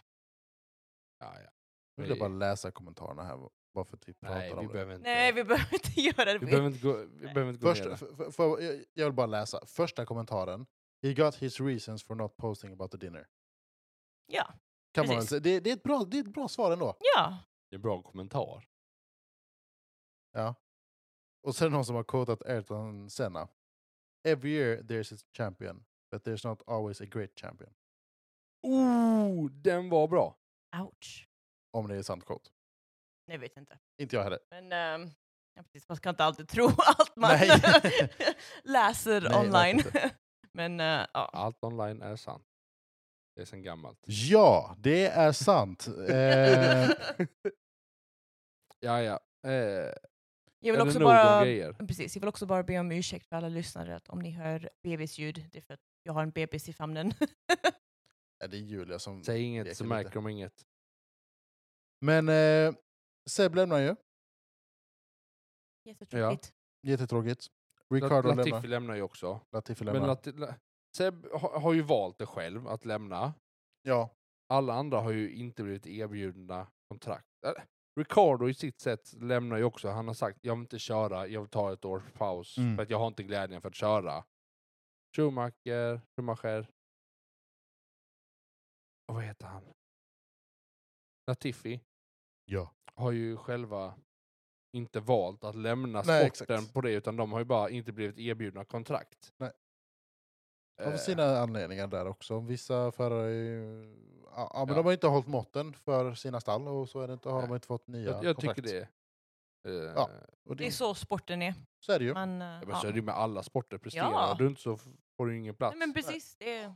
S3: Ja, ja.
S1: Jag ville
S3: Vi-
S1: bara läsa kommentarerna här. Bara för att vi pratar
S3: Nej,
S1: om
S3: vi
S1: det.
S3: behöver inte...
S2: Nej, vi behöver inte göra det.
S3: vi behöver inte gå, vi behöver inte gå
S1: Först,
S3: ner där.
S1: f- f- får jag- jag vill bara läsa. Första kommentaren. He got his reasons for not posting about the dinner.
S2: Ja,
S1: Kan man väl
S2: Precis.
S1: säga. Det, det, är ett bra, det är ett bra svar ändå.
S2: ja.
S3: Det är en bra kommentar.
S1: Och sen någon som har quotat Ayrton Senna. Every year there's a champion, but there's not always a great champion.
S3: Oh, den var bra!
S2: Ouch.
S1: Om det är sant quote.
S2: Nej, jag vet inte.
S1: Inte jag heller.
S2: Men ehm, ja, precis, man ska inte alltid tro allt man
S1: Nej.
S2: läser
S1: Nej,
S2: online.
S1: verkligen
S2: Men eh, ja,
S3: Allt online är sant. Det är sen gammalt.
S1: Ja, det är sant. eh,
S3: Ja, ja. Eh,
S2: jag vill
S3: är det
S2: också
S3: nog om
S2: bara...
S3: grejer?
S2: Precis, jag vill också bara be om ursäkt för alla lyssnare att om ni hör bebisljud, det är för att jag har en bebis i famnen.
S1: ja, det är Julia som...
S3: Säg inget
S1: leker
S3: så
S1: lite.
S3: märker de inget.
S1: Men eh, Seb lämnar ju.
S2: Jättetråkigt.
S1: Jättetråkigt. Ricardo
S3: Lat- Latifi
S1: lämnar.
S3: lämnar ju också.
S1: Latifi
S3: Men
S1: lämnar.
S3: Lati- La- Seb ha, har ju valt det själv, att lämna.
S1: ja,
S3: Alla andra har ju inte blivit erbjudna kontrakt. Äh, Ricardo i sitt sätt lämnar ju också. Han har sagt jag vill inte köra, jag vill ta ett års paus
S1: Mm.
S3: för att jag har inte glädjen för att köra. Schumacher, Schumacher. Och vad heter han? Latifi.
S1: ja.
S3: har ju själva inte valt att lämna
S1: Nej,
S3: sporten
S1: exakt.
S3: på det utan de har ju bara inte blivit erbjudna kontrakt.
S1: Nej.
S3: Eh,
S1: Av sina anledningar där också. Vissa förare är ju... Ja, ja, men
S3: Ja.
S1: de har inte hållit måtten för sina stall och så är det inte, har de
S3: Nej.
S1: inte fått nya
S3: jag, jag tycker
S1: kontrakt.
S3: det. eh,
S1: Ja. Och det,
S2: Det är så sporten är.
S1: så är det ju.
S2: Man, eh,
S3: ja, men
S2: ja.
S3: Så är det ju med alla sporter. Presterar
S2: Ja.
S3: du inte så f- får du ingen plats.
S2: Nej, men precis, det är...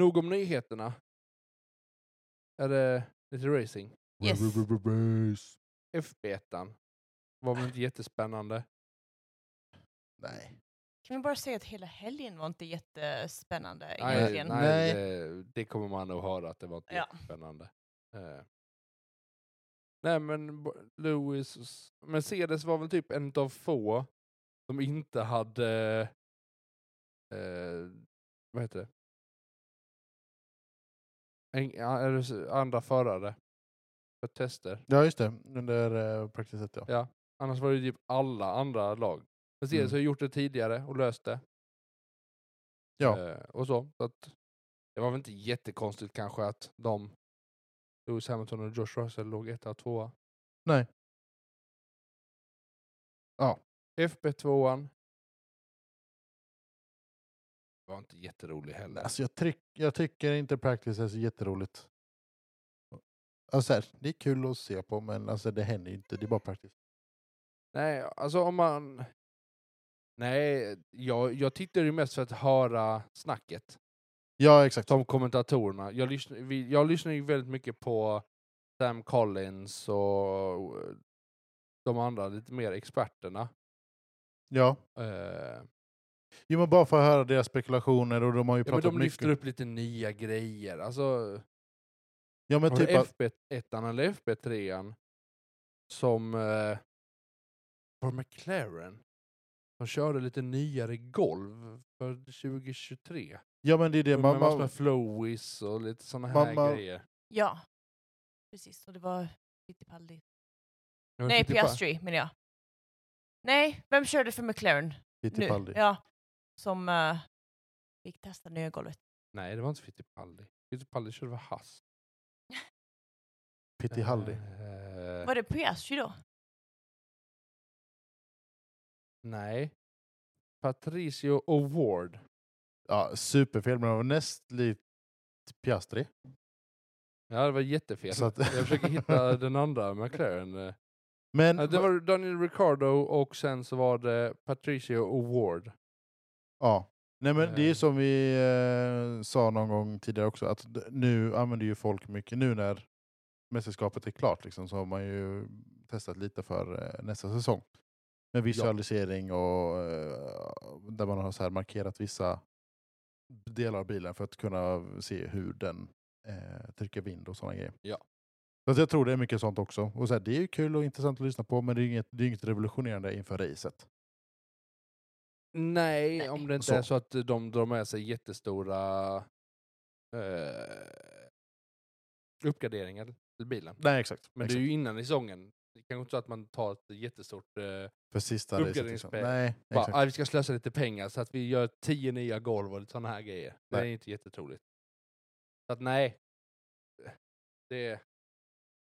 S3: Nog om nyheterna. Är det lite racing?
S2: Yes.
S1: Yes.
S3: FB1 var väl inte jättespännande?
S1: Nej.
S2: Kan vi bara säga att hela helgen var inte jättespännande
S1: Nej,
S2: egentligen.
S1: Nej.
S3: nej, Det, det kommer man nog höra att det var inte
S2: Ja.
S3: spännande. Eh. Nej men b- Lewis, och s- Mercedes var väl typ en av få som inte hade, eh, vad heter det? En, ja, eller s- andra förare för tester.
S1: Ja, just det. Under eh, praktiskt ja.
S3: Ja, annars var det typ alla andra lag. Mercedes
S1: Mm.
S3: har gjort det tidigare och löst det.
S1: Ja.
S3: Eh, och så. så att, det var väl inte jättekonstigt kanske att de, Lewis Hamilton och Josh Russell låg etta och tvåa.
S1: Nej. Ja.
S3: FB2an. Var inte jätterolig heller.
S1: Alltså, jag, tryck, jag tycker inte practice är så jätteroligt. Alltså, så här, det är kul att se på, men alltså, det händer ju inte. Det är bara practice.
S3: Nej, alltså om man... Nej, jag, jag tittar ju mest för att höra snacket.
S1: Ja, exakt.
S3: Som kommentatorerna. Jag lyssnar, vi- jag lyssnar ju väldigt mycket på Sam Collins och eh, de andra lite mer experterna.
S1: Ja.
S3: Eh,
S1: Jo, men bara för att höra deras spekulationer och de har ju
S3: ja, men
S1: pratat
S3: de lyfter
S1: mycket.
S3: upp lite nya grejer. Alltså,
S1: Ja, men
S3: Har du
S1: typ att,
S3: FB1 eller FB3 som eh, var McLaren som körde lite nyare golv för 2023.
S1: ja, men det är det.
S3: med
S1: Man,
S3: massor
S1: man,
S3: med flowies och lite sådana här
S1: man- man-
S3: grejer.
S2: Ja, precis. Och det var Fittipaldi.
S3: Jag
S2: Nej,
S3: sitter bara-
S2: Piastri menar jag. Nej, vem körde för McLaren?
S3: typ
S1: Fittipaldi.
S2: Nu? Ja, som eh, fick testa nya golvet.
S3: Nej, det var inte Fittipaldi. Fittipaldi körde för Haas.
S1: Pittihaldi.
S3: Eh,
S2: Var det Piastri då?
S3: nej. Patricio Award.
S1: Ja, superfel, men det var näst likt Piastri.
S3: Ja, det var jättefel.
S1: Så att-
S3: Jag försöker hitta den andra McLaren. eh.
S1: Men
S3: Ja, Det var Daniel Ricciardo och sen så var det Patricio Award.
S1: Ja. Nej, men det är
S3: Eh.
S1: som vi eh, sa någon gång tidigare också, att d- nu använder ju folk mycket, nu när mästerskapet är klart liksom, så har man ju testat lite för eh, nästa säsong. Med visualisering och eh, där man har så här markerat vissa delar av bilen för att kunna se hur den eh, trycker vind och sådana grejer.
S3: Ja.
S1: Så att jag tror det är mycket sånt också. Och så här, det är ju kul och intressant att lyssna på men det är ju inget, det är ju inget revolutionerande inför racet.
S3: Nej,
S2: Nej.
S3: om det inte
S1: Så.
S3: är så att de drar med sig jättestora eh, uppgraderingar till bilen.
S1: Nej exakt.
S3: Men det är ju innan i säsongen. Det kanske inte så att man tar ett jättestort... Eh,
S1: För sista racet. Liksom.
S3: Uppgraderingsspel.
S1: Nej,
S3: bara,
S1: exakt.
S3: "Ah, vi ska slösa lite pengar så att vi gör tio nya golv och sådana här grejer. Det
S1: Nej.
S3: är inte jättetroligt. Så att nej. Det,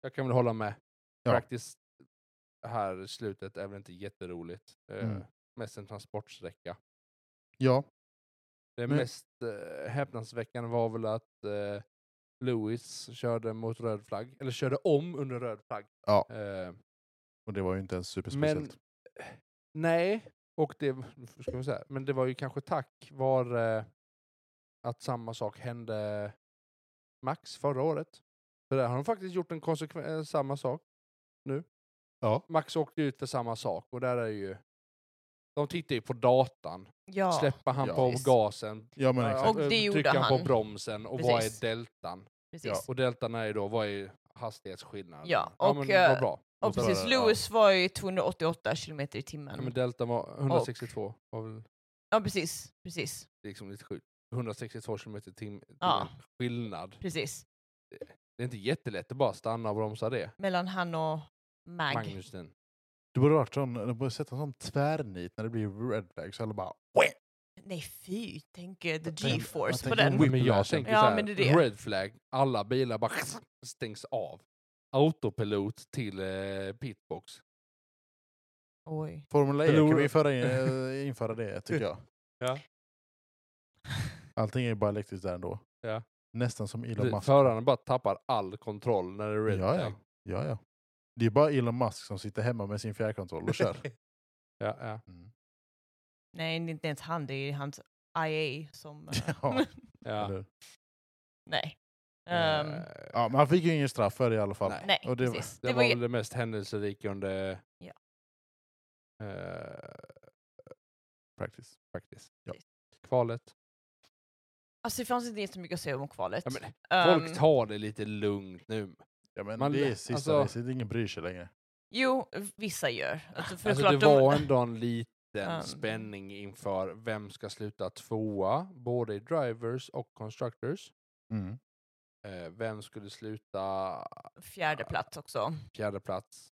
S3: jag kan väl hålla med.
S1: Ja.
S3: Faktiskt här i slutet är väl inte jätteroligt. Eh,
S1: Mm.
S3: Mest en transportsträcka.
S1: Ja,
S3: Det
S1: Men-
S3: mest eh, häpnadsväckande var väl att eh, Lewis körde mot röd flagg, eller körde om under röd flagg.
S1: Ja.
S3: Eh,
S1: och det var ju inte ens superspeciellt.
S3: men nej, och det, hur ska man säga, men det var ju kanske tack vare att samma sak hände Max förra året. För där har de faktiskt gjort en konsekven, eh, samma sak nu.
S1: Ja.
S3: Max åkte ut för samma sak och där är ju, de tittar ju på datan.
S2: Ja,
S3: Släpper han
S1: Ja.
S3: på
S2: Precis.
S3: gasen,
S1: Ja, men
S3: Ja,
S1: exakt.
S2: Och det
S3: eh,
S2: gjorde
S3: trycka på
S2: han.
S3: bromsen och vad
S2: Precis.
S3: är deltan?
S2: precis.
S1: ja.
S3: Och deltan är ju då, vad är hastighetsskillnaden?
S2: Ja,
S3: ja
S2: och,
S3: men
S2: eh,
S3: vad bra.
S2: Och
S1: så var
S2: precis,
S1: det-
S2: Lewis var ju 288 kilometer i
S3: Ja, men
S2: timmen.
S3: deltan var 162, var väl
S2: Ja, precis, precis,
S3: liksom lite sjukt. 162 km tim-
S2: Ja.
S3: timmen skillnad.
S2: precis.
S3: Det är inte jättelätt att bara stanna och bromsa det.
S2: Mellan han och Mag.
S3: Magnusen.
S1: Du borde varit sån, du borde sätta en sån tvärnit när det blir red flag så alla bara
S2: Nej fy, tänk eh, the
S1: Jag tänker- jag
S2: G-force
S1: tänker
S2: på den.
S1: whip.
S3: Men jag
S1: Whiplashen.
S3: tänker
S2: Ja,
S3: såhär,
S2: men det är det.
S3: red flag, alla bilar bara stängs av. Autopilot till eh, pitbox.
S2: Oj.
S1: Formel E,
S3: Förlora-
S1: kan vi föra in, eh, införa det tycker jag.
S3: Ja.
S1: Allting är ju bara elektriskt där ändå.
S3: Ja.
S1: Nästan som Elon Musk.
S3: Föraren bara tappar all kontroll när det är red
S1: Ja,
S3: flag.
S1: Ja, ja. Det är bara Elon Musk som sitter hemma med sin fjärrkontroll och kör.
S3: Ja, ja.
S1: Mm.
S2: Nej, det är inte ens han, det är hans IA som... eh,
S1: Ja,
S3: ja.
S1: eller-
S2: nej. Ehm,
S3: Eh,
S1: ja, men han fick ju ingen straff för det i alla fall.
S3: Nej.
S2: nej,
S1: och det var-
S2: precis.
S3: Det,
S2: Det
S3: var,
S2: var
S3: väl
S2: ju...
S3: det mest händelserika under
S2: Ja.
S3: eh,
S1: Practice.
S3: faktiskt.
S1: Ja.
S3: kvalet.
S2: Alltså det fanns inte jättemycket att säga om kvalet.
S3: Ja, men,
S2: Ehm,
S3: folk tar det lite lugnt nu.
S1: Ja, men
S3: Man-
S1: det är sista
S3: alltså-
S1: racet, ingen bryr sig längre.
S2: Jo, vissa gör. Alltså, för
S3: alltså,
S2: klart
S3: det
S2: de-
S3: var ändå en liten
S2: Ehm.
S3: spänning inför vem ska sluta tvåa, både i drivers och constructors.
S1: Mm.
S3: Eh, vem skulle sluta
S2: fjärde plats också.
S3: fjärde plats?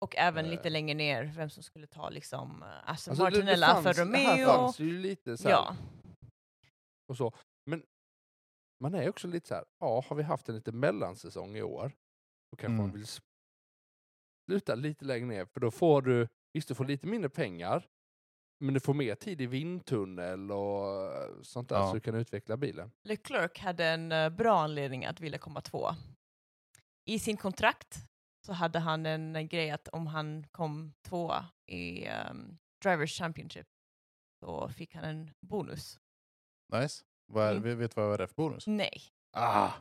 S2: Och även
S3: Eh.
S2: lite längre ner, vem som skulle ta liksom eh, Aston
S3: Alltså, det-
S2: Martin
S3: det
S2: eller Alfa
S3: fanns- Här
S2: Romeo.
S3: fanns ju lite så här,
S2: Ja,
S3: och så. Men man är också lite så här, ja, har vi haft en lite mellansäsong i år, då kanske man
S1: Mm.
S3: vill s- sluta lite längre ner, för då får du, visst du får lite mindre pengar, men du får mer tid i vindtunnel och eh, sånt där
S1: Ja.
S3: så du kan utveckla bilen.
S2: Leclerc hade en eh, bra anledning att vilja komma två. I sin kontrakt så hade han en eh, grej att om han kom tvåa i ehm, Drivers Championship så fick han en bonus.
S1: Nice. Vad är,
S2: Mm.
S1: vi- Vet du vad det är för bonus?
S2: Nej,
S1: Ah,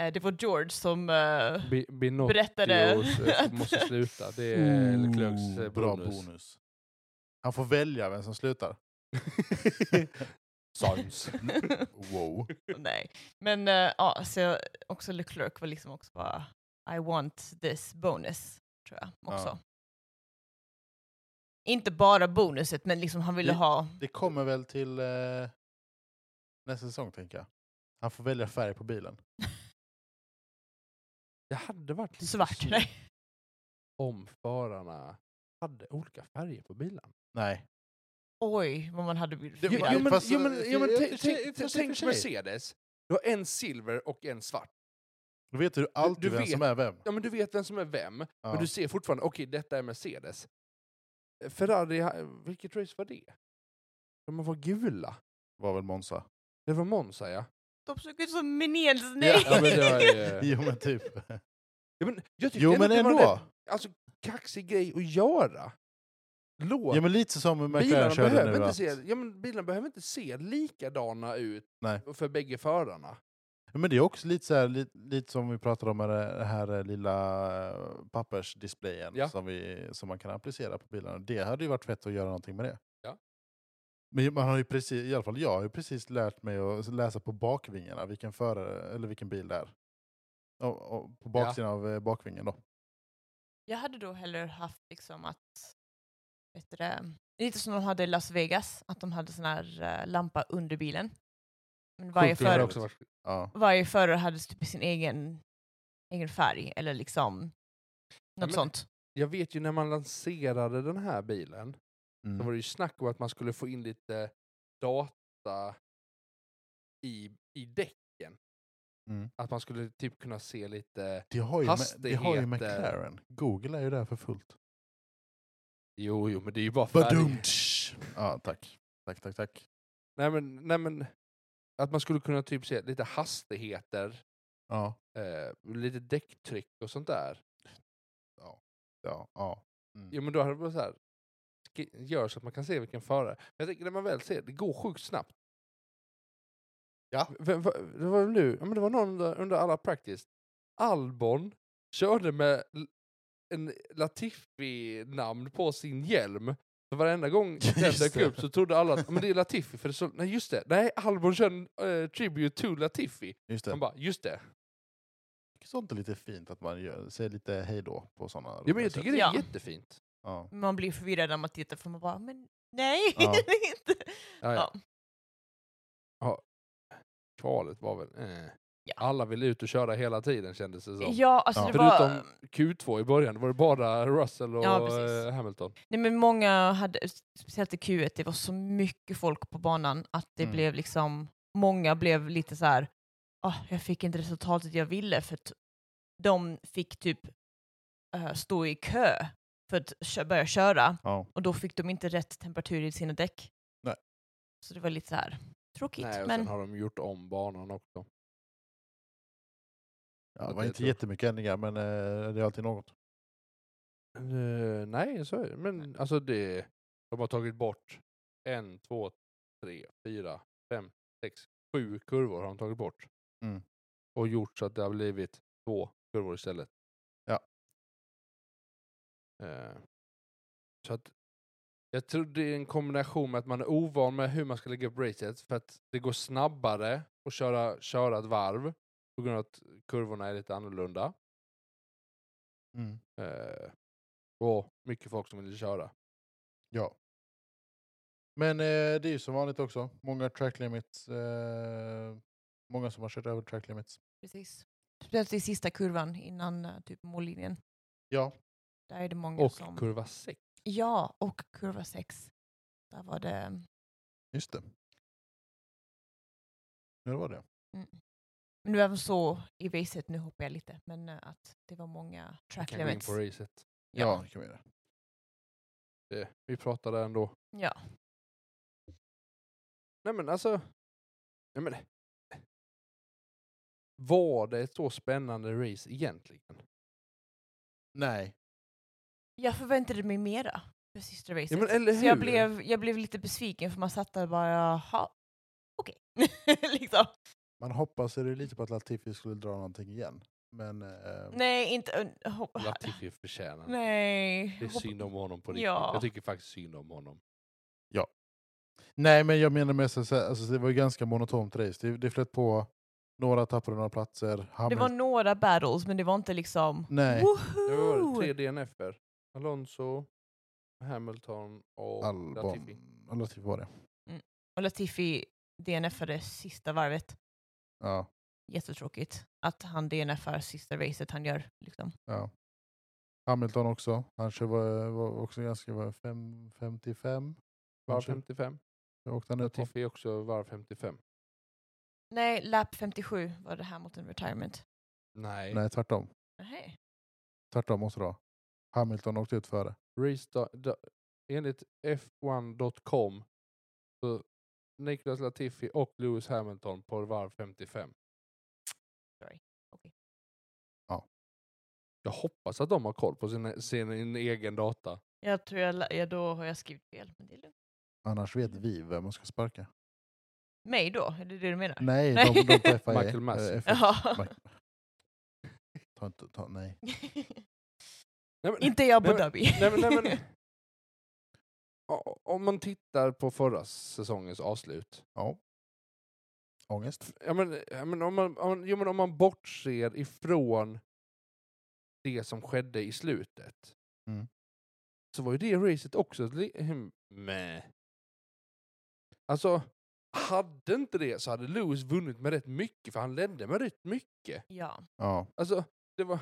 S2: eh, det var George som eh,
S3: Be,
S2: berättade att-
S3: eh, måste sluta. Det är
S1: ooh,
S3: Leclercs eh,
S1: Oh, bra
S3: bonus.
S1: bonus. Han får välja vem som slutar.
S3: Sons.
S1: Wow.
S2: Nej, men eh, ja, så jag- också Leclerc var liksom också bara I want this bonus, tror jag också.
S1: Ja.
S2: Inte bara bonuset, men liksom han ville
S1: Det-
S2: ha...
S1: Det kommer väl till eh, nästa säsong, tänker jag. Han får välja färg på bilen.
S3: Det hade varit lite
S2: Svart,
S3: synd
S2: nej.
S3: om förarna hade olika färger på bilen.
S1: Nej.
S2: Oj, vad man hade blivit
S1: Det-
S3: Jo,
S1: var-
S2: förvirrad.
S3: jo, men,
S1: fast-
S3: jo, men, jo, men
S1: i- i-
S3: tänk-
S1: i- i- i-
S3: tänk-
S1: i- i-
S3: tänk-
S1: i-
S3: tänk
S1: i-
S3: Mercedes. Du har en silver och en svart.
S1: Då vet du alltid
S3: du
S1: vem
S3: vet-
S1: som är vem.
S3: Ja, men du vet vem som är vem,
S1: Ja.
S3: men du ser fortfarande, okej, detta är Mercedes. Eh, Ferrari, ha- vilket race var det? De var gula.
S1: Var väl Monza.
S3: Det var Monza, ja.
S2: De såg ut som minions, nej!
S1: Ja,
S3: ja men det var, ju-
S1: Jo men typ.
S3: ja, men jag tyckte
S1: Jo men
S3: att det var en
S1: ändå.
S3: rätt, alltså, kaxig grej att göra. Låt
S1: Ja men lite som McLaren
S3: bilarna
S1: körde
S3: behöver,
S1: nu.
S3: inte
S1: Att,
S3: se, ja, men bilarna behöver inte se likadana ut
S1: Nej.
S3: för bägge förarna.
S1: Ja, men det är också lite, så här, lite, lite som vi pratade om med den här eh, lilla eh, pappersdisplayen
S3: Ja.
S1: som, vi, som man kan applicera på bilarna. Det hade ju varit fett att göra någonting med det.
S3: Ja.
S1: Men man har ju precis, i alla fall jag har ju precis lärt mig att läsa på bakvingarna vilken, förare, eller vilken bil det är. Och, och på
S3: Ja.
S1: baksidan av eh, bakvingen då.
S2: Jag hade då hellre haft liksom att... Vet du det, lite som de hade i Las Vegas, att de hade sån här eh, lampa under bilen. Men varje,
S1: Sjukt, det hade
S2: för,
S1: också varit- Ja.
S2: varje förare hade typ sin egen, egen färg, eller liksom något
S3: men-
S2: sånt.
S3: Jag vet ju när man lanserade den här bilen, Då
S1: Mm.
S3: var det ju snack om att man skulle få in lite data i, i däcken.
S1: Mm.
S3: Att man skulle typ kunna se lite...
S1: Det har, ju, Ma- det har ju
S3: hastigheter.
S1: McLaren. Google är ju där för fullt.
S3: Jo, jo, men det är ju bara
S1: Badumtsch! Ja, tack. Tack, tack, tack.
S3: Nej men, nej, men att man skulle kunna typ se lite hastigheter,
S1: Ja,
S3: eh, lite däcktryck och sånt där.
S1: ja, ja. Mm.
S3: Jo, men då hade det varit så här. sk- Gör så att man kan se vilken förare. Men jag tänker när man väl ser, det går sjukt snabbt.
S1: Ja.
S3: Vem, va, det var väl nu, ja, men det var någon under, under alla practice. Albon körde med l- en Latifi-namn på sin hjälm. Så varenda gång den
S1: Just
S3: dök
S1: det.
S3: upp så trodde alla att "Ja, men det är Latifi. För det så, nej just det, nej Albon kör en eh, tribute to Latifi.
S1: Just det.
S3: Man bara, just det.
S1: Sånt är lite fint att man gör, säger lite hej då på sådana.
S3: Ja, men jag tycker det är
S2: Ja.
S3: jättefint.
S1: Ja.
S2: Man blir förvirrad när man tittar för man bara, men nej,
S1: Ja.
S2: det är inte.
S3: Ja, ja.
S2: Ja.
S3: Kvalet var väl... Eh.
S2: Ja.
S3: Alla ville ut och köra hela tiden kändes det som.
S2: Ja, alltså
S1: Ja.
S2: det var...
S3: Förutom Q2 i början, var det bara Russell och
S2: Ja, precis.
S3: eh, Hamilton.
S2: Nej, men många hade, speciellt i Q1, det var så mycket folk på banan att det
S1: Mm.
S2: blev liksom, många blev lite så här, "Ah, jag fick inte resultatet jag ville för att de fick typ eh, stå i kö för att kö- börja köra
S1: Ja.
S2: och då fick de inte rätt temperatur i sina däck.
S1: Nej.
S2: Så det var lite så här tråkigt.
S3: Nej, och
S2: men...
S3: sen har de gjort om banan också.
S1: Ja, det
S3: Att
S1: var
S3: det
S1: inte
S3: tror jag.
S1: jättemycket ändringar men eh, det är alltid något.
S3: Eh, nej, så är det. Men alltså det... De har tagit bort en, två, tre, fyra, fem, sex, sju kurvor har de tagit bort.
S1: Mm.
S3: Och gjort så att det har blivit två kurvor istället.
S1: Ja.
S3: Eh, så att jag tror det är en kombination med att man är ovan med hur man ska lägga upp racet för att det går snabbare att köra, köra ett varv på grund av att kurvorna är lite annorlunda.
S1: Mm.
S3: Eh, och mycket folk som vill köra.
S1: Ja. Men eh, det är ju som vanligt också. Många track limits. Eh, många som har kört över track limits.
S2: Precis. Speciellt i sista kurvan innan eh, typ mållinjen.
S1: Ja.
S2: Där är det många
S3: Och
S2: som...
S3: kurva 6.
S2: ja, och kurva 6. Där var det...
S1: Just det. Nu var det.
S2: Mm. Men det var även så i racet, nu hoppar jag lite, men eh, att det var många track
S3: Kan gå in
S2: limits.
S3: på racet.
S1: Ja, det kan vi göra.
S3: Det, vi pratade ändå.
S2: Ja.
S3: Nej men alltså. Nej men. Var det ett så spännande race egentligen?
S1: Nej.
S2: Jag förväntade mig mera för Sister Basics.
S3: Ja, men eller
S2: Så jag
S3: hur?
S2: blev, jag blev lite besviken för man satt där och bara, jaha, okej. liksom.
S1: Man hoppas ju lite på att Latifi skulle dra någonting igen. Men eh,
S2: Nej, inte... Uh, hopp,
S3: Latifi förtjänar det.
S2: nej.
S3: Det är
S2: hopp-
S3: synd om honom på riktigt.
S2: Ja.
S3: Jag tycker faktiskt synd om honom.
S1: nej, men jag menar mest att säga- alltså, det var ju ganska monotont race. Det, det flöt på, några tappade några platser.
S2: det
S1: Hamil-
S2: var några battles, men det var inte liksom...
S1: nej,
S3: Det var
S2: Woho!
S3: tre DNFer. Alonso, Hamilton och
S1: Albon.
S3: Latifi.
S1: Ja, Latifi var det.
S2: Och Latifi DNFade sista varvet.
S1: Ja,
S2: Jättetråkigt att han DNFar sista racet han gör. Liksom.
S1: ja. Hamilton också. Han kör var, var också ganska var fem, 55.
S3: Var
S1: kanske.
S3: 55.
S1: Åkte han ut på
S3: Latifi är också var 55.
S2: Nej, lap 57 var det Hamilton retirement.
S3: Nej.
S1: Nej, tvärtom.
S2: Nej.
S1: Tvärtom måste det vara. Hamilton åkte ut före.
S3: Restart, da, enligt F1.com så Niklas Latifi och Lewis Hamilton på varv 55.
S2: Sorry. Okej.
S1: Ja.
S3: Jag hoppas att de har koll på sin, sin egen data.
S2: Jag tror jag, la- ja, då har jag skrivit fel. Men det är lugnt.
S1: Annars vet vi vem man ska sparka.
S2: Mig då? Är det det du menar?
S1: Nej,
S2: Nej.
S1: de, de på FIA.
S3: Michael Massey.
S1: eh, F1.
S2: Ja.
S1: Mike. Ta inte, ta, nej.
S3: Nej, men,
S2: inte jag på
S3: Nej, men-
S2: Dhabi.
S3: nej, men, nej, men, O- om man tittar på förra säsongens avslut.
S1: Ja. Ångest.
S3: Ja, men, ja, men, om, man, om, man- jo, men om man bortser ifrån det som skedde i slutet.
S1: Mm.
S3: Så var ju det racet också ett li- Mäh. Alltså, hade inte det så hade Lewis vunnit med rätt mycket, för han ledde med rätt mycket.
S2: ja.
S1: Ja.
S3: Alltså, det var...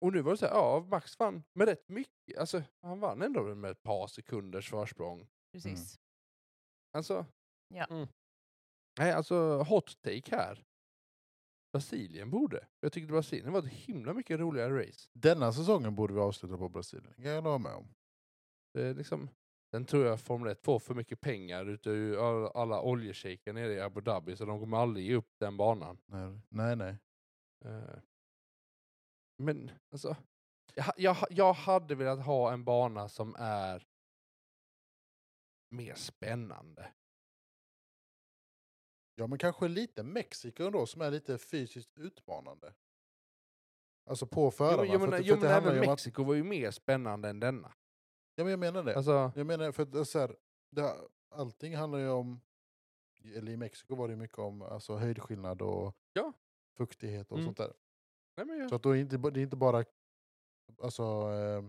S3: Och nu var det så här, ja, Max vann med rätt mycket. Alltså, han vann ändå med ett par sekunders försprång. Mm.
S2: Precis.
S3: Alltså...
S2: Ja.
S3: Mm. Nej, alltså hot take här. Brasilien borde. Jag tyckte Brasilien var ett himla mycket roligare race.
S1: Denna säsongen borde vi avsluta på Brasilien. Det kan jag hålla med om.
S3: Det är liksom, den tror jag Formel 1 får för mycket pengar utav alla- alla oljeshejker nere i Abu Dhabi så de kommer aldrig ge upp den banan.
S1: Nej, nej. nej.
S3: Eh, Men alltså, jag, ha- jag, ha- jag hade velat ha en bana som är mer spännande.
S1: Ja, men kanske lite Mexiko ändå som är lite fysiskt utmanande. Alltså på förarna.
S3: Jo,
S1: för
S3: jo, men,
S1: att- för
S3: jo,
S1: att det
S3: men
S1: handlar
S3: även
S1: ju om att-
S3: Mexiko var ju mer spännande än denna.
S1: Ja, men jag menar det.
S3: Alltså,
S1: Jag menar, för att det är så här, det, här- allting handlar ju om, eller i Mexiko var det ju mycket om alltså, höjdskillnad och
S3: Ja.
S1: fuktighet och
S3: Mm.
S1: sånt där.
S3: nej, men jag,
S1: Så att då är det, inte, ba- det är inte bara alltså, eh,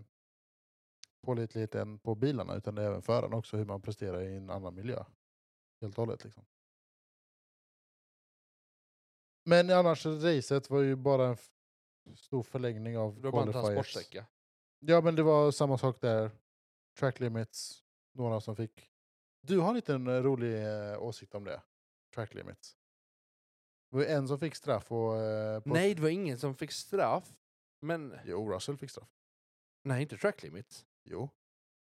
S1: pålitligheten på bilarna utan det är även föraren också, hur man presterar i en annan miljö. Helt och hållet liksom. Men annars, racet var ju bara en f- stor förlängning av
S3: Det var bara en
S1: qualifiers.
S3: transportsträcka.
S1: Ja, men det var samma sak där. Track limits, några som fick. Du har en liten eh, rolig eh, åsikt om det. Track limits. Det var en som fick straff och... Eh, på
S3: Nej, det var ingen som fick straff. Men
S1: Jo, Russell fick straff.
S3: nej, inte track limit.
S1: Jo.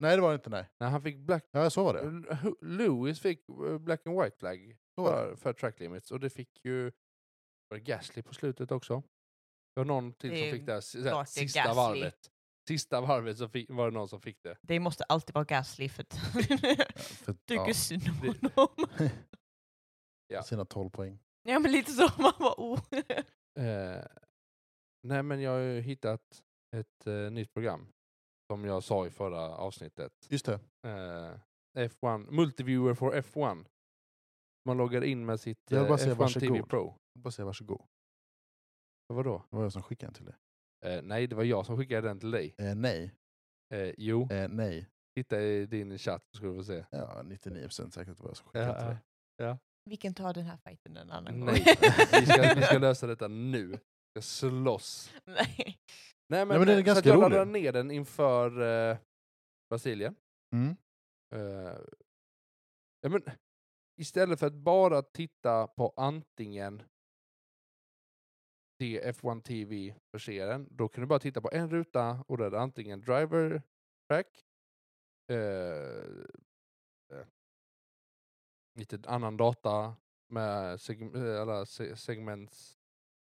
S1: Nej, det var det inte. Nej,
S3: Nej, han fick black...
S1: ja, så var det.
S3: L- Lewis fick eh, black and white flag
S1: Så var det.
S3: för, för track limits och det fick ju var det Gasly på slutet också. Det var någon till
S2: Det är
S3: som fick det här, s- så här
S2: klart det är
S3: sista
S2: Gasly.
S3: varvet. Sista varvet så fick, var det någon som fick det.
S2: Det måste alltid vara Gasly för att
S1: För,
S2: tycker
S1: ja,
S2: synd om
S3: Det-
S2: honom.
S3: Ja.
S1: Sina 12 poäng.
S2: Ja men lite så, man bara oh.
S3: Eh, nej, men jag har ju hittat ett eh, nytt program som jag sa i förra avsnittet.
S1: Just det.
S3: eh, F1, Multiviewer for F1. Man loggar in med sitt
S1: Jag vill
S3: eh,
S1: bara säga
S3: F1 TV
S1: varsågod.
S3: Pro. Eh,
S1: Bara säga varsågod.
S3: Vadå?
S1: Det var jag som skickade den till dig.
S3: Eh, nej, det var jag som skickade den till dig.
S1: Eh, nej.
S3: Eh, jo,
S1: Eh, nej.
S3: titta i din chatt så ska du få se.
S1: Ja, 99 procent säkert att det var jag som skickade den till dig.
S2: Vi kan ta den här fighten en annan gång.
S3: Nej, vi ska, vi ska lösa detta nu. Vi ska slåss.
S2: Nej.
S3: Nej, men,
S1: men den är
S3: eh, så
S1: ganska
S3: att jag
S1: rolig.
S3: laddade ner den inför eh, Brasilien.
S1: Mm.
S3: Eh, ja, men, istället för att bara titta på antingen det F1 TV förser en, då kan du bara titta på en ruta och där är det antingen driver track, eh, eh, lite annan data med seg- eh, alla se- segments.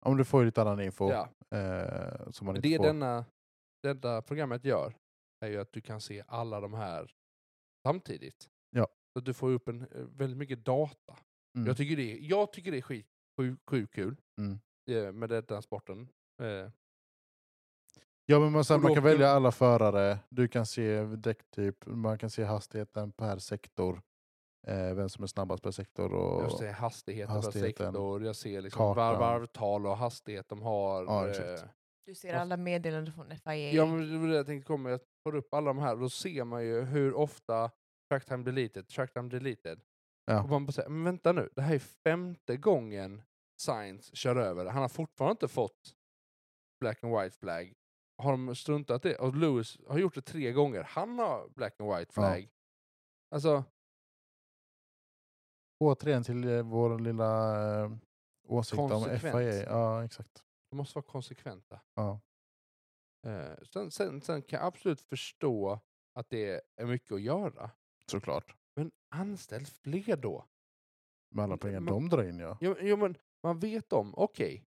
S1: Om du får ju lite annan info
S3: Ja,
S1: eh, som man inte
S3: det är
S1: får.
S3: denna det enda programmet gör är ju att du kan se alla de här samtidigt.
S1: Ja.
S3: Så att du får upp en, eh, väldigt mycket data.
S1: Mm.
S3: Jag, tycker det, jag tycker det är skit, sjukt sjuk kul
S1: Mm.
S3: eh, med den den sporten. Eh,
S1: Ja, men man, sen,
S3: Och
S1: man
S3: då
S1: kan
S3: åker-
S1: välja alla förare. Du kan se däcktyp, man kan se hastigheten per sektor. Eh, vem som är snabbast per sektor.
S3: jag
S1: Och,
S3: ser hastigheten,
S1: hastigheten,
S3: per sektor, jag ser liksom
S1: kartan.
S3: varv, varvtal och hastighet de har.
S1: Ja,
S3: eh,
S1: exakt.
S2: Du ser alla meddelanden från FIA.
S3: Ja, men det var det jag tänkte komma. Jag tar upp alla de här och då ser man ju hur ofta tracktime deleted, tracktime deleted.
S1: Ja.
S3: Och man bara säger, men vänta nu, det här är femte gången Science kör över. Han har fortfarande inte fått black and white flag. Har de struntat i det? Och Lewis har gjort det tre gånger. Han har black and white
S1: Ja.
S3: flag. Alltså,
S1: återigen till eh, vår lilla eh, åsikt om
S3: Konsekvent.
S1: FIA. Ja, exakt.
S3: de måste vara konsekventa.
S1: Ja.
S3: Eh, sen, sen, sen kan jag absolut förstå att det är mycket att göra.
S1: Såklart.
S3: Men anställ fler då.
S1: Med alla pengar
S3: Men-
S1: de drar in ja.
S3: Jo, jo men man vet om, okej.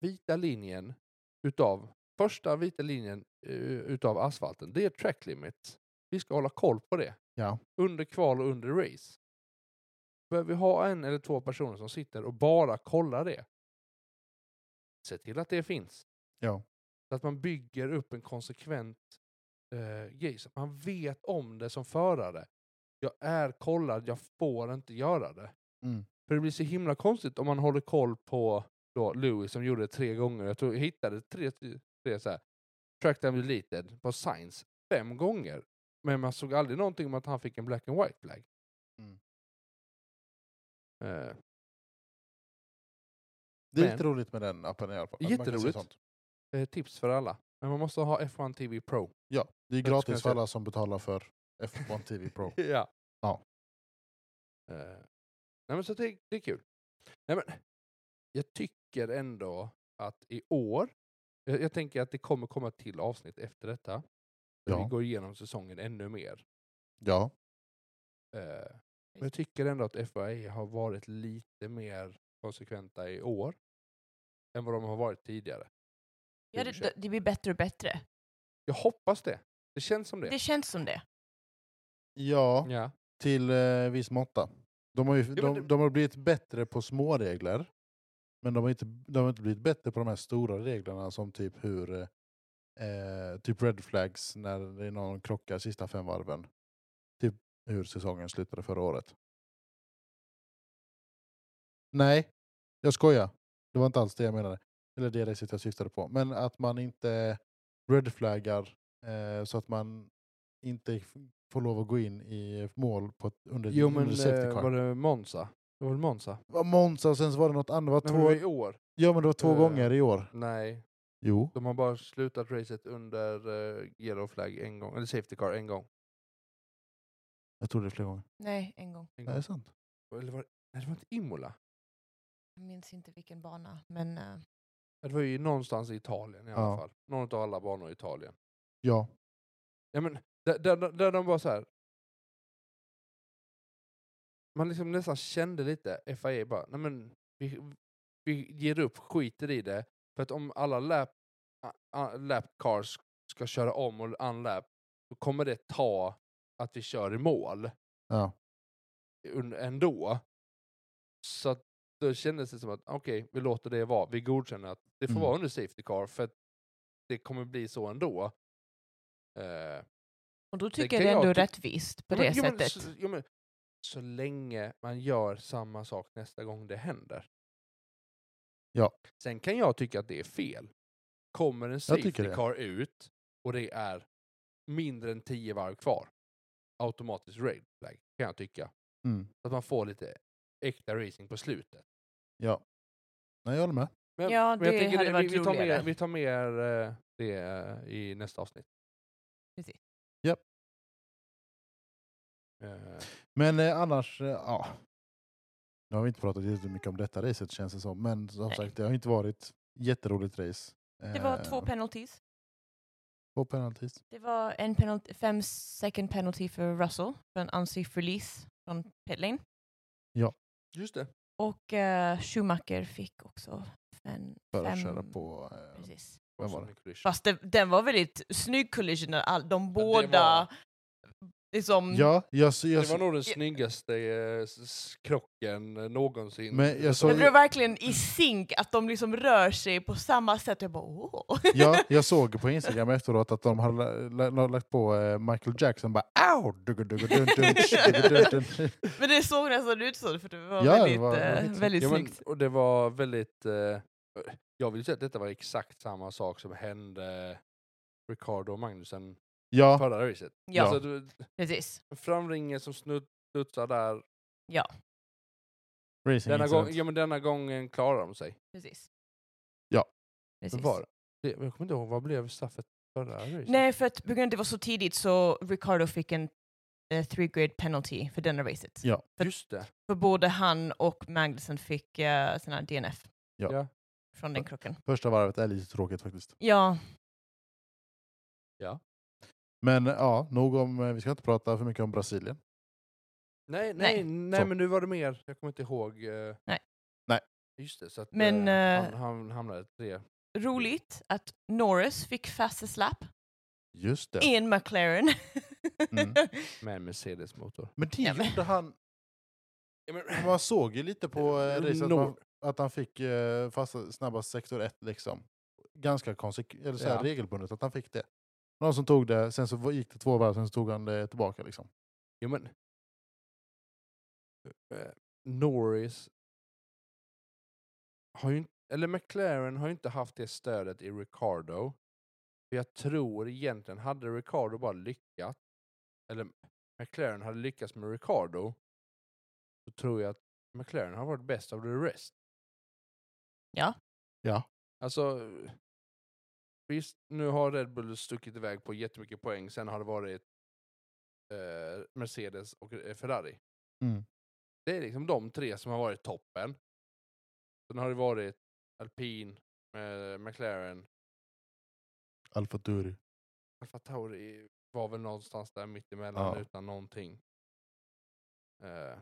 S3: Vita linjen utav, första vita linjen eh, utav asfalten, det är track limits. Vi ska hålla koll på det.
S1: Ja.
S3: Under kval och under race. Behöver vi ha en eller två personer som sitter och bara kollar det? Se till att det finns.
S1: Ja.
S3: Så att man bygger upp en konsekvent eh, grej. Så att man vet om det som förare. Jag är kollad, jag får inte göra det.
S1: Mm.
S3: För det blir så himla konstigt om man håller koll på då Lewis som gjorde det tre gånger. Jag, tror, jag hittade tre, tre så här. Track down deleted på Science fem gånger. Men man såg aldrig någonting om att han fick en black and white flag.
S1: Mm.
S3: Eh,
S1: Det är
S3: Men-
S1: lite roligt med den appen i alla fall. att man kan se
S3: Jätteroligt.
S1: sånt.
S3: eh, tips för alla. Men man måste ha F1 TV Pro.
S1: Ja, det är
S3: ska jag
S1: gratis för
S3: säga.
S1: alla som betalar för F1 TV Pro.
S3: ja.
S1: Ja.
S3: Eh, nej men så det, det är kul. Nej men, jag tycker ändå att i år, jag, jag tänker att det kommer komma ett till avsnitt efter detta. Där
S1: Ja.
S3: Vi går igenom säsongen ännu mer.
S1: Ja,
S3: Eh, men jag tycker ändå att FIA har varit lite mer konsekventa i år än vad de har varit tidigare.
S2: Ja, det, det blir bättre och bättre.
S3: Jag hoppas det. Det känns som det.
S2: Det känns som det.
S1: ja
S3: Ja.
S1: till eh, viss måtta. De har, ju,
S3: men
S1: de,
S3: det-
S1: de har blivit bättre på små regler. Men de har, inte, de har inte blivit bättre på de här stora reglerna som typ hur eh, eh, typ red flags när det är någon krockar sista fem varven. Typ hur säsongen slutade förra året. Nej, jag skojar. Det var inte alls det jag menade. Eller det racet jag syftade på. Men att man inte redflaggar eh, så att man inte f- får lov att gå in i mål på ett, under,
S3: Jo men
S1: under safety
S3: eh, var
S1: car. Det
S3: det Monza? Det var väl Monza?
S1: var Monza och sen så var det något annat. Det
S3: Nej,
S1: var
S3: men det
S1: två,
S3: var i år?
S1: ja men det var två
S3: eh,
S1: gånger i år.
S3: Nej,
S1: Jo.
S3: De har bara slutat racet under uh, yellow flag en gång, eller safety car en gång.
S1: Jag tror det är flera gånger.
S2: Nej, en gång.
S3: En
S1: Det
S3: gång.
S1: är sant.
S3: Eller var, nej, det var inte Imola.
S2: Jag minns inte vilken bana, men eh,
S3: Det var ju någonstans i Italien i alla
S1: Ja.
S3: fall. Någon av alla banor i Italien.
S1: Ja.
S3: Ja, men, där, där, där de bara så här. Man liksom nästan kände lite, FIA bara, nej men vi, vi ger upp, skiter i det. För att om alla lap, a- a- lap cars ska köra om och unlap, då kommer det ta att vi kör i mål.
S1: ja.
S3: un- ändå. Så att då kändes det som att okej, vi låter det vara. Vi godkänner att det får
S1: Mm.
S3: vara under Safety Car för att det kommer bli så ändå. Eh,
S2: och då tycker jag
S3: kan
S2: det är
S3: jag
S2: ändå
S3: ty-
S2: rättvist på
S3: ja, men-
S2: det
S3: ja, men
S2: sättet.
S3: Så, ja, men, så länge man gör samma sak nästa gång det händer.
S1: Ja.
S3: Sen kan jag tycka att det är fel. Kommer en
S1: tycker
S3: safety
S1: det.
S3: car ut och det är mindre än 10 varv kvar, automatiskt raid flag, kan jag tycka.
S1: Mm.
S3: Så att man får lite äkta racing på slutet.
S1: Ja. Nej, jag håller med.
S3: Men,
S2: Ja,
S3: men jag
S2: det
S3: tänker
S2: hade varit
S3: vi, vi tar
S2: roligare.
S3: mer, vi tar mer eh, det eh, i nästa avsnitt.
S2: Precis.
S1: Japp.
S3: Eh,
S1: Men eh, annars, eh, ja. Nu har vi inte pratat jättemycket om detta racet känns det som. Men som
S2: Nej.
S1: sagt, det har inte varit jätteroligt race.
S2: Det var
S1: Eh,
S2: två
S3: Ehm.
S2: penalties.
S1: två penalties.
S2: Det var en penalty, fem second penalty för Russell för en unsafe release från pitlane.
S3: just det.
S2: Och eh, Schumacher fick också en
S1: För
S2: fem...
S1: att köra på eh,
S2: Precis.
S1: Vem
S3: som
S1: var det?
S3: en collision.
S2: Fast det, den var väldigt snygg collision, när all, de
S3: det
S2: båda... Liksom,
S1: Ja, jag, så- jag,
S3: Det
S1: så-
S3: var nog den snyggaste eh, s- s- krocken eh, någonsin.
S1: men jag,
S2: Men det
S1: såg,
S2: var verkligen i synk, att de liksom rör sig på samma sätt. Jag bara åh.
S1: ja, jag såg på Instagram efteråt att de hade la- la- la- lagt på eh, Michael Jackson bara Ow! Dugu, dugu, dun, dun, tsch, dugu, dun, dun.
S2: Men det såg nästan ut så, för det var
S1: Ja, det
S2: väldigt,
S1: var
S2: eh,
S1: väldigt-
S2: väldigt
S3: ja, men,
S2: snyggt.
S3: och det var väldigt... Eh, jag vill säga att detta var exakt samma sak som hände Ricardo och Magnusen
S1: Ja,
S3: förra racet.
S2: Ja,
S3: Alltså, det-
S2: precis.
S3: framringen som snudd- studsar där.
S1: racing
S3: Denna, gång,
S1: incident.
S3: ja, men denna gången klarar de sig.
S2: precis.
S1: Ja.
S2: Precis.
S3: Men var, det, jag kommer inte ihåg, vad blev straffet förra racet?
S2: Nej, för att på grund av att det var så tidigt så Ricardo fick en eh, three grade penalty för denna racet.
S1: Ja.
S2: för-
S3: Just det.
S2: För både han och Magnussen fick eh, sina DNF
S1: Ja.
S3: Ja.
S2: från den krocken.
S1: Första varvet är lite tråkigt faktiskt.
S2: Ja,
S1: Men ja, nog om, eh, vi ska inte prata för mycket om Brasilien.
S3: Nej,
S2: Nej.
S3: nej, nej
S1: Så.
S3: men nu var det mer. Jag kommer inte ihåg. eh,
S2: Nej.
S1: Nej.
S3: Just det, så att
S2: Men,
S3: eh,
S2: eh,
S3: han, han hamnade tre.
S2: roligt att Norris fick fastest lap
S1: Just det.
S2: i en McLaren.
S1: Mm.
S3: Med en Mercedes-motor.
S1: Men det
S2: Ja, men-
S1: gjorde han,
S3: Ja, men,
S1: man såg ju lite på eh, racet att,
S3: Nor-
S1: man- att han fick eh, fasta, snabbast sektor 1 liksom. Ganska konsek- eller så här,
S3: Ja.
S1: regelbundet att han fick det. Någon som tog det, sen så var- gick det två varv, sen så tog han det tillbaka liksom.
S3: ja, men, eh, Norris har ju inte, eller McLaren har ju inte haft det stödet i Ricardo. För jag tror egentligen, hade Ricardo bara lyckats, eller McLaren hade lyckats med Ricardo, så tror jag att McLaren har varit bäst av the rest.
S2: Ja.
S1: Ja.
S3: Alltså, visst, nu har Red Bull stuckit iväg på jättemycket poäng, sen har det varit eh, Mercedes och eh, Ferrari.
S1: Mm.
S3: Det är liksom de tre som har varit toppen. Sen har det varit Alpin, eh, McLaren,
S1: Alfa Duri.
S3: Alfa Tauri var väl någonstans där mittemellan
S1: Ja.
S3: utan någonting. Eh,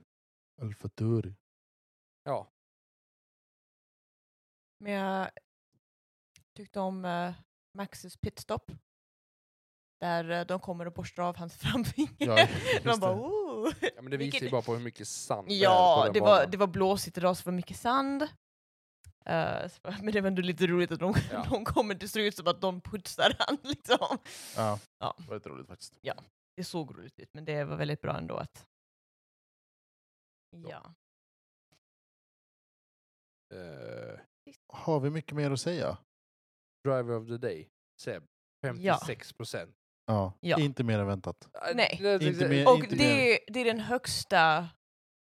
S1: Alfa Duri.
S3: ja,
S2: Men jag tyckte om eh, Maxus pitstop. Där eh, de kommer och borstar av hans framfinger.
S1: Ja,
S2: Man
S1: just
S2: bara
S1: det.
S2: oh.
S3: ja, men det visar ju
S2: Vilket-
S3: bara på hur mycket sand det är på
S2: Ja,
S3: den
S2: det var,
S3: banan.
S2: det var blåsigt idag så det var mycket sand. Eh, så- men det var ändå lite roligt att de,
S3: Ja.
S2: de kommer, det såg ut som att de putsar han liksom.
S1: Ja.
S2: Ja.
S1: Det var lite roligt faktiskt.
S2: Det såg roligt ut, men det var väldigt bra ändå att... Ja.
S3: Eh,
S1: Har vi mycket mer att säga?
S3: Driver of the day, Seb.
S2: Ja.
S3: 56 procent. Ah,
S1: Ja.
S2: Ja.
S1: Inte mer än väntat.
S2: Nej.
S1: Inte mer-
S2: Och
S1: inte
S2: det, det är den högsta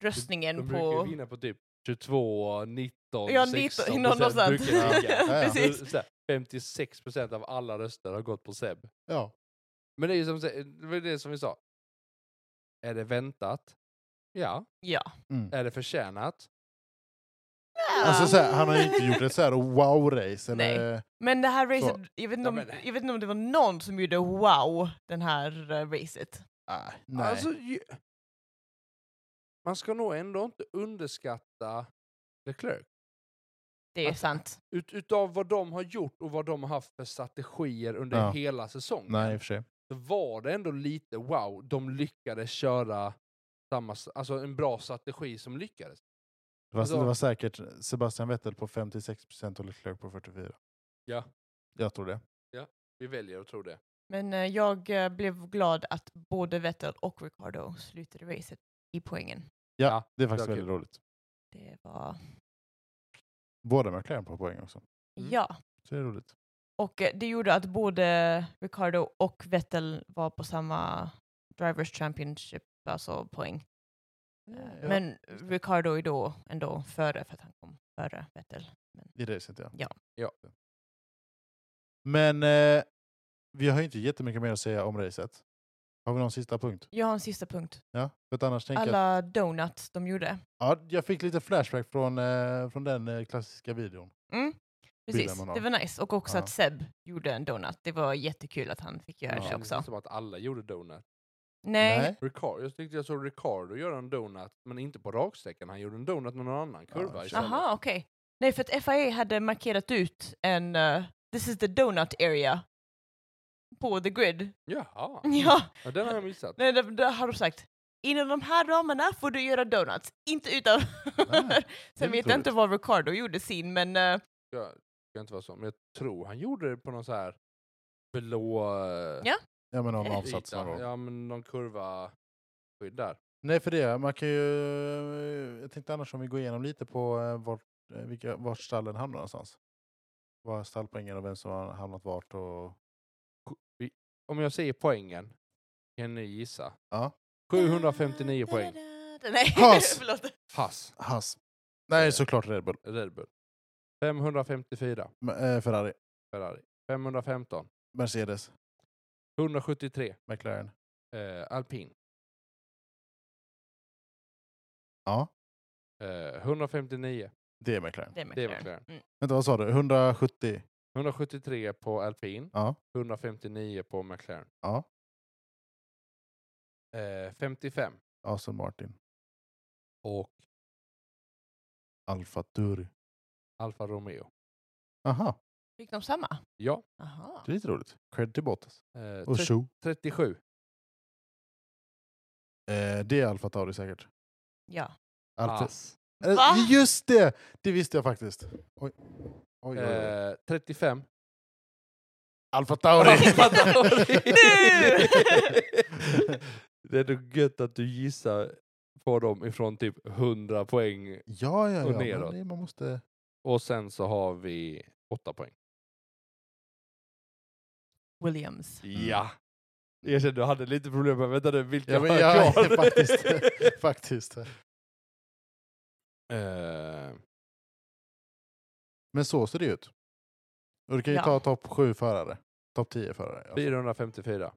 S2: röstningen
S3: De brukar ju
S2: på...
S3: vinna på typ 22, 19,
S2: Ja, 19,
S3: 16
S2: någon någonstans.
S3: brukar det ligga.
S1: Ja, ja.
S2: Precis.
S3: Så- så här, 56 procent av alla röster har gått på Seb.
S1: Ja.
S3: Men det är ju som, se- det var ju det som vi sa. Är det väntat? Ja.
S2: Ja.
S1: Mm.
S3: Är det förtjänat?
S1: Alltså, så här, han har ju inte gjort ett så här wow-race. Eller...
S2: Men det här racet,
S1: Så.
S2: jag vet, inte
S3: Ja,
S2: om,
S3: men-
S2: jag vet inte om det var någon som gjorde wow den här eh, racet.
S1: Ah, nej.
S3: Alltså, ju- man ska nog ändå inte underskatta Leclerc.
S2: Det är
S1: Alltså.
S3: Att-
S2: sant.
S3: Ut, utav vad de har gjort och vad de har haft för strategier under
S1: Ja.
S3: hela säsongen.
S1: nej, i och för sig.
S3: så var det ändå lite wow, de lyckades köra samma, s- alltså en bra strategi som lyckades.
S1: Det var,
S3: Alltså-
S1: det var säkert Sebastian Vettel på 56% och Leclerc på 44%.
S3: Ja.
S1: Jag tror det.
S3: Vi väljer att tro det.
S2: Men eh, jag eh, blev glad att både Vettel och Ricardo slutade racet i poängen.
S1: Ja,
S3: Ja,
S1: det är faktiskt
S3: det var
S1: väldigt roligt.
S2: Det var...
S1: Båda McLaren på poäng också.
S3: Mm.
S2: Ja.
S1: Så det är roligt.
S2: Och eh, det gjorde att både Ricardo och Vettel var på samma Drivers Championship, alltså poäng. Eh,
S1: Ja,
S2: Men Ricardo är då ändå före, för att han kom före Vettel.
S1: I racet ja.
S2: Ja.
S3: Ja.
S1: Men eh, vi har ju inte jättemycket mer att säga om racet. Har vi någon sista punkt?
S2: Jag har en sista punkt.
S1: Ja, för att annars tänker jag...
S2: Alla donuts de gjorde.
S1: Ja, jag fick lite flashback från, eh, från den eh, klassiska videon.
S2: Mm. Precis,
S1: Bilden man har.
S2: det var nice. Och också
S1: Ja.
S2: att Seb gjorde en donut. Det var jättekul att han fick göra
S1: Ja.
S2: det
S3: kändes
S2: också.
S3: inte som att alla gjorde donut.
S2: Nej,
S3: Ricardo, jag tyckte jag såg Ricardo göra en donut, men inte på raksträckan. Han gjorde en donut med någon annan kurva
S1: Ja,
S3: istället.
S2: aha okej. Nej, för att FIA hade markerat ut en eh, This is the donut area. På the grid.
S3: Jaha,
S2: Ja,
S3: ja, den har jag missat.
S2: nej, det, det har de sagt. Inom de här ramarna får du göra donuts, inte utan.
S1: Ah, Nej, är
S2: Sen vet
S1: otroligt.
S2: jag inte vad Ricardo gjorde sin, men eh,
S3: Jag kan inte vara så, men jag tror han gjorde det på någon så här blå... eh,
S2: Ja.
S1: Ja, men någon
S2: Eh,
S1: avsats någon
S3: yta.
S1: gång.
S3: Ja, men någon kurva skydd där.
S1: Nej, för det. Man kan ju... Jag tänkte annars om vi går igenom lite på eh, vart, eh, vilka, vart stallen hamnar någonstans. Var stallpoängen och vem som har hamnat vart och...
S3: Om jag säger poängen, kan ni gissa?
S1: Ja.
S3: 759 poäng.
S2: Nej,
S1: Hans!
S2: förlåt.
S3: Haas,
S1: Hass. Nej, såklart Red Bull.
S3: Red Bull. 554,
S1: Men, eh, Ferrari.
S3: Ferrari. 515,
S1: Mercedes.
S3: 173,
S1: McLaren.
S3: eh, Alpin.
S1: Ja,
S3: Eh, 159,
S1: det är McLaren.
S2: Det är
S3: det är
S2: McLaren.
S3: McLaren.
S2: Mm.
S1: Vänta, vad sa du? 170?
S3: 173 på Alpin,
S1: Ja.
S3: 159 på McLaren.
S1: Ja.
S3: Eh, 55
S1: Aston Martin.
S3: och
S1: Alfa Turi.
S3: Alfa Romeo.
S1: Aha,
S2: Fick de samma?
S3: Ja,
S2: Aha.
S1: det är lite roligt. Cred till Bottas.
S3: eh,
S1: Och
S3: tre-
S1: Shu.
S3: 37.
S1: Eh, det är Alfa Tauri säkert.
S2: Ja.
S1: Alfa.
S3: Haas.
S1: Eh,
S2: Va?
S1: just det! Det visste jag faktiskt. Oj. Oj, oj, oj.
S3: Eh, 35.
S1: Alfa Tauri!
S3: Alfa Tauri.
S1: Nu!
S3: det är nog gött att du gissar på dem ifrån typ 100 poäng
S1: Ja, ja,
S3: Och
S1: ja.
S3: neråt.
S1: Men det, man måste...
S3: och sen så har vi 8 poäng.
S2: Williams.
S3: Ja. Jag kände du hade lite problem med, vänta nu, vilka
S1: Ja, men
S3: har
S1: jag
S3: kvar?
S1: är faktiskt... faktiskt.
S3: Eh,
S1: Men så ser det ut. Och du kan ju
S2: Ja.
S1: ta topp 7 förare. Topp 10 förare. Alltså.
S3: 454.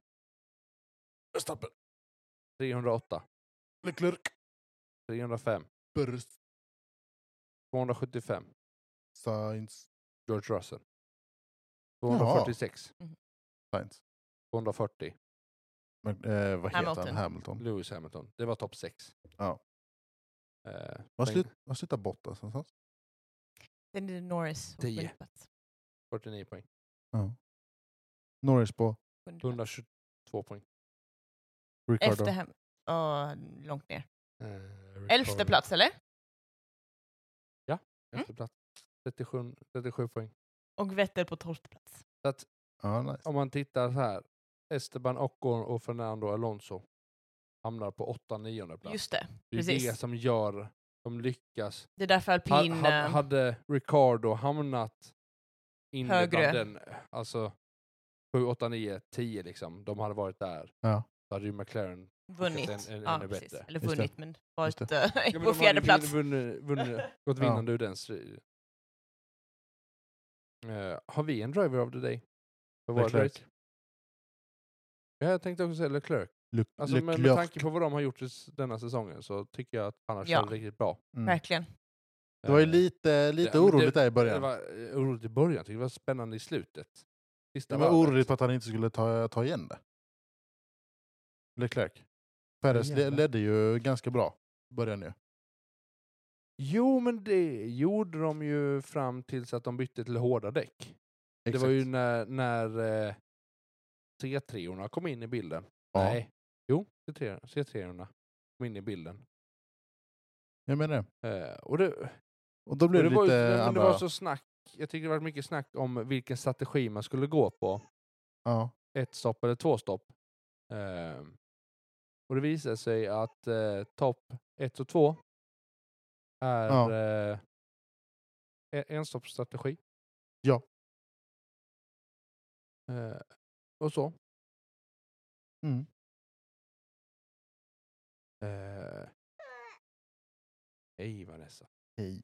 S1: Verstappen,
S3: 308.
S1: Leclerc,
S3: 305.
S1: Burst,
S3: 275.
S1: Sainz,
S3: George Russell.
S1: Jaha.
S3: 246.
S1: Sainz.
S3: 240.
S1: Men, eh, vad heter
S2: Hamilton.
S1: han? Hamilton.
S3: Lewis Hamilton. Det var topp 6.
S1: Ja.
S3: Eh,
S1: Var,
S3: poäng
S1: slut, var slutar Bottas någonstans?
S2: Sen är det Norris. på
S3: Tio.
S2: sjunde plats.
S3: 49 poäng.
S1: Norris på
S2: Sjunde plats.
S3: 122 poäng.
S1: Ricardo.
S2: Efter hem. Ja, långt ner.
S3: Eh,
S2: Elfte
S3: Ricardo.
S2: plats Mm. eller?
S3: Elfte plats. 37, 37 poäng.
S2: Och Vettel på tolfte plats.
S3: Så att
S1: Ja, nice.
S3: om man tittar så här. Esteban Ocon och Fernando Alonso hamnar på 8 9 plats.
S2: Just det.
S3: det är
S2: precis.
S3: det som gör de lyckas.
S2: Det är därför
S3: Ha,
S2: alpin...
S3: ha,
S2: eh,
S3: hade Ricardo hamnat inne bland
S2: Högre.
S3: den, alltså 7, 8, 9, 10 liksom, de hade varit där,
S1: Ja.
S3: så hade ju McLaren
S2: vunnit.
S3: en- en-
S2: ja,
S3: ännu
S2: precis.
S3: bättre.
S2: Eller
S1: Just det.
S2: vunnit, men
S1: Just
S2: varit eh,
S3: Ja, men de
S2: på
S3: hade
S2: fjärde
S3: ju
S2: plats.
S3: Vunnit, vunnit, gått
S1: Ja.
S3: vinnande ur den striden. Eh, har vi en driver of the day? För vårt
S1: Leclerc.
S3: race? Ja, jag tänkte också säga Leclerc.
S1: Le-
S3: Alltså, men med tanke på vad de har gjort s- denna säsongen så tycker jag att han har
S2: Ja.
S3: kört riktigt bra.
S1: Mm.
S2: Verkligen.
S1: Det var ju
S3: Eh,
S1: lite,
S3: Ja,
S1: lite
S3: men det-
S1: oroligt där i början.
S3: Det var eh, oroligt i början, jag tycker det var spännande i slutet. Sista
S1: Jag var
S3: varvet.
S1: orolig på att han inte skulle ta, ta igen det. Leclerc. Perez le-
S3: Jävlar.
S1: ledde ju ganska bra. Början nu.
S3: Jo, men det gjorde de ju fram tills att de bytte till hårda däck.
S1: Exakt.
S3: Det var ju när, när eh, C3-orna kom in i bilden.
S1: Ja.
S3: Nej, jo, C3 C3-orna kom in i bilden.
S1: Jag menar det.
S3: Eh, och det, och
S1: Och då
S3: det,
S1: blev det,
S3: var, ju-
S1: lite
S3: men
S1: andra...
S3: det var så snack, jag tycker det var mycket snack om vilken strategi man skulle gå på.
S1: ja.
S3: ett stopp eller två stopp. Ehm, och det visar sig att eh, topp ett och två är
S1: Ja.
S3: eh, en enstoppsstrategi.
S1: Ja.
S3: Eh, och så.
S1: Mm.
S3: Eh, hej Vanessa.
S1: Hej.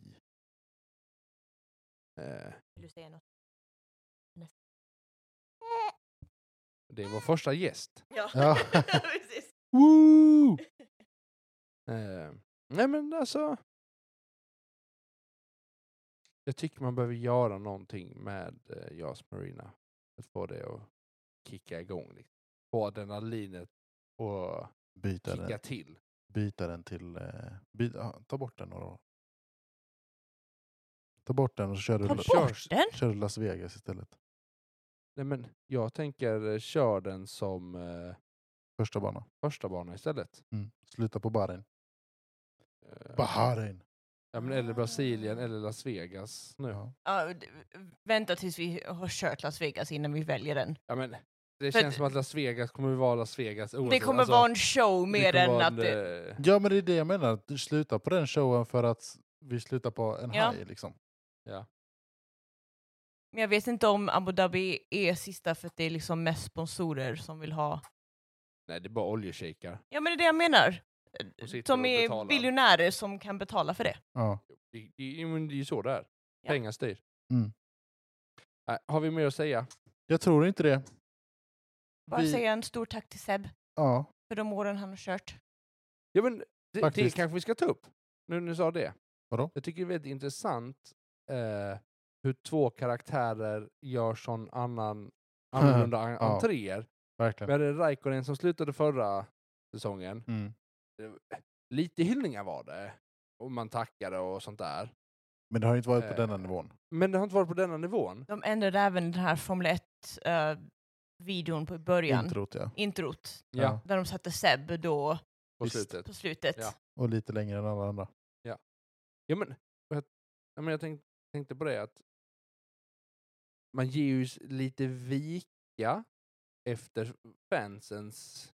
S3: Eh,
S2: Vill du säga något?
S3: det är vår första gäst.
S2: Ja,
S1: Ja.
S2: precis.
S3: Woo! Eh, nej men alltså. Jag tycker man behöver göra någonting med eh, JAS Marina. Att få det att kicka igång. Liksom. Få adrenalinet och
S1: Byta
S3: kicka
S1: den,
S3: till.
S1: byta den till... Eh, by, ah, ta bort den några år. Ta bort den och så kör du,
S2: Ta
S3: det
S2: bort
S3: körs.
S2: den!
S1: kör du Las Vegas istället.
S3: Nej men jag tänker eh, kör den som eh,
S1: Första bana.
S3: första bana istället.
S1: Mm. Sluta på Bahrain.
S3: Eh,
S1: Bahrain!
S3: ja, men, eller Brasilien eller Las Vegas nu.
S1: Ja.
S2: Ja, d- vänta tills vi har kört Las Vegas innan vi väljer den.
S3: Ja, men, det
S2: För-
S3: känns som att Las Vegas kommer vara Las Vegas
S2: Det
S3: oavsett,
S2: kommer
S3: alltså,
S2: vara en show
S3: det
S2: mer
S3: kommer
S2: än
S3: vara
S2: att... det-
S3: en, eh,
S1: ja, men det är det jag menar. att Sluta på den showen för att vi slutar på en
S2: Ja.
S1: haj. Liksom.
S2: Men jag vet inte om Abu Dhabi är sista för att det är liksom mest sponsorer som vill ha...
S3: Nej, det är bara oljeshejkar.
S2: Ja men det är det jag menar.
S3: Och sitter
S2: Mm. Som
S3: och
S2: är
S3: betalar.
S2: biljonärer som kan betala för det.
S1: Ja.
S3: Det, det, men det är ju så där.
S2: Ja.
S3: Pengar styr.
S1: Mm.
S3: Nej, har vi mer att säga?
S1: Jag tror inte det.
S2: Bara
S1: Vi-
S2: säga en stor tack till Seb
S1: Ja.
S2: för de åren han har kört.
S3: Ja, men det, det
S1: Faktiskt.
S3: kanske vi ska ta upp, nu när du sa det.
S1: Vadå?
S3: Jag tycker det är väldigt intressant eh, hur två karaktärer gör sån annan, annorlunda en-
S1: Ja.
S3: entréer. Vi
S1: Verkligen.
S3: hade Raikkonen som slutade förra säsongen.
S1: Mm.
S3: Lite hyllningar var det, och man tackade och sånt där.
S1: Men det har ju inte varit på
S3: Eh.
S1: denna nivån.
S3: Men det har inte varit på denna nivån.
S2: De ändrade även den här Formel 1-videon på början.
S1: Introt, ja.
S2: Introt.
S3: Ja,
S1: Ja.
S2: Där de satte Seb då
S3: på
S1: Visst.
S3: slutet.
S2: på slutet.
S3: Ja.
S1: Och lite längre än alla andra.
S3: Ja, men jag, ja, men jag tänk, tänkte på det att man ger ju s- lite vika efter fansens...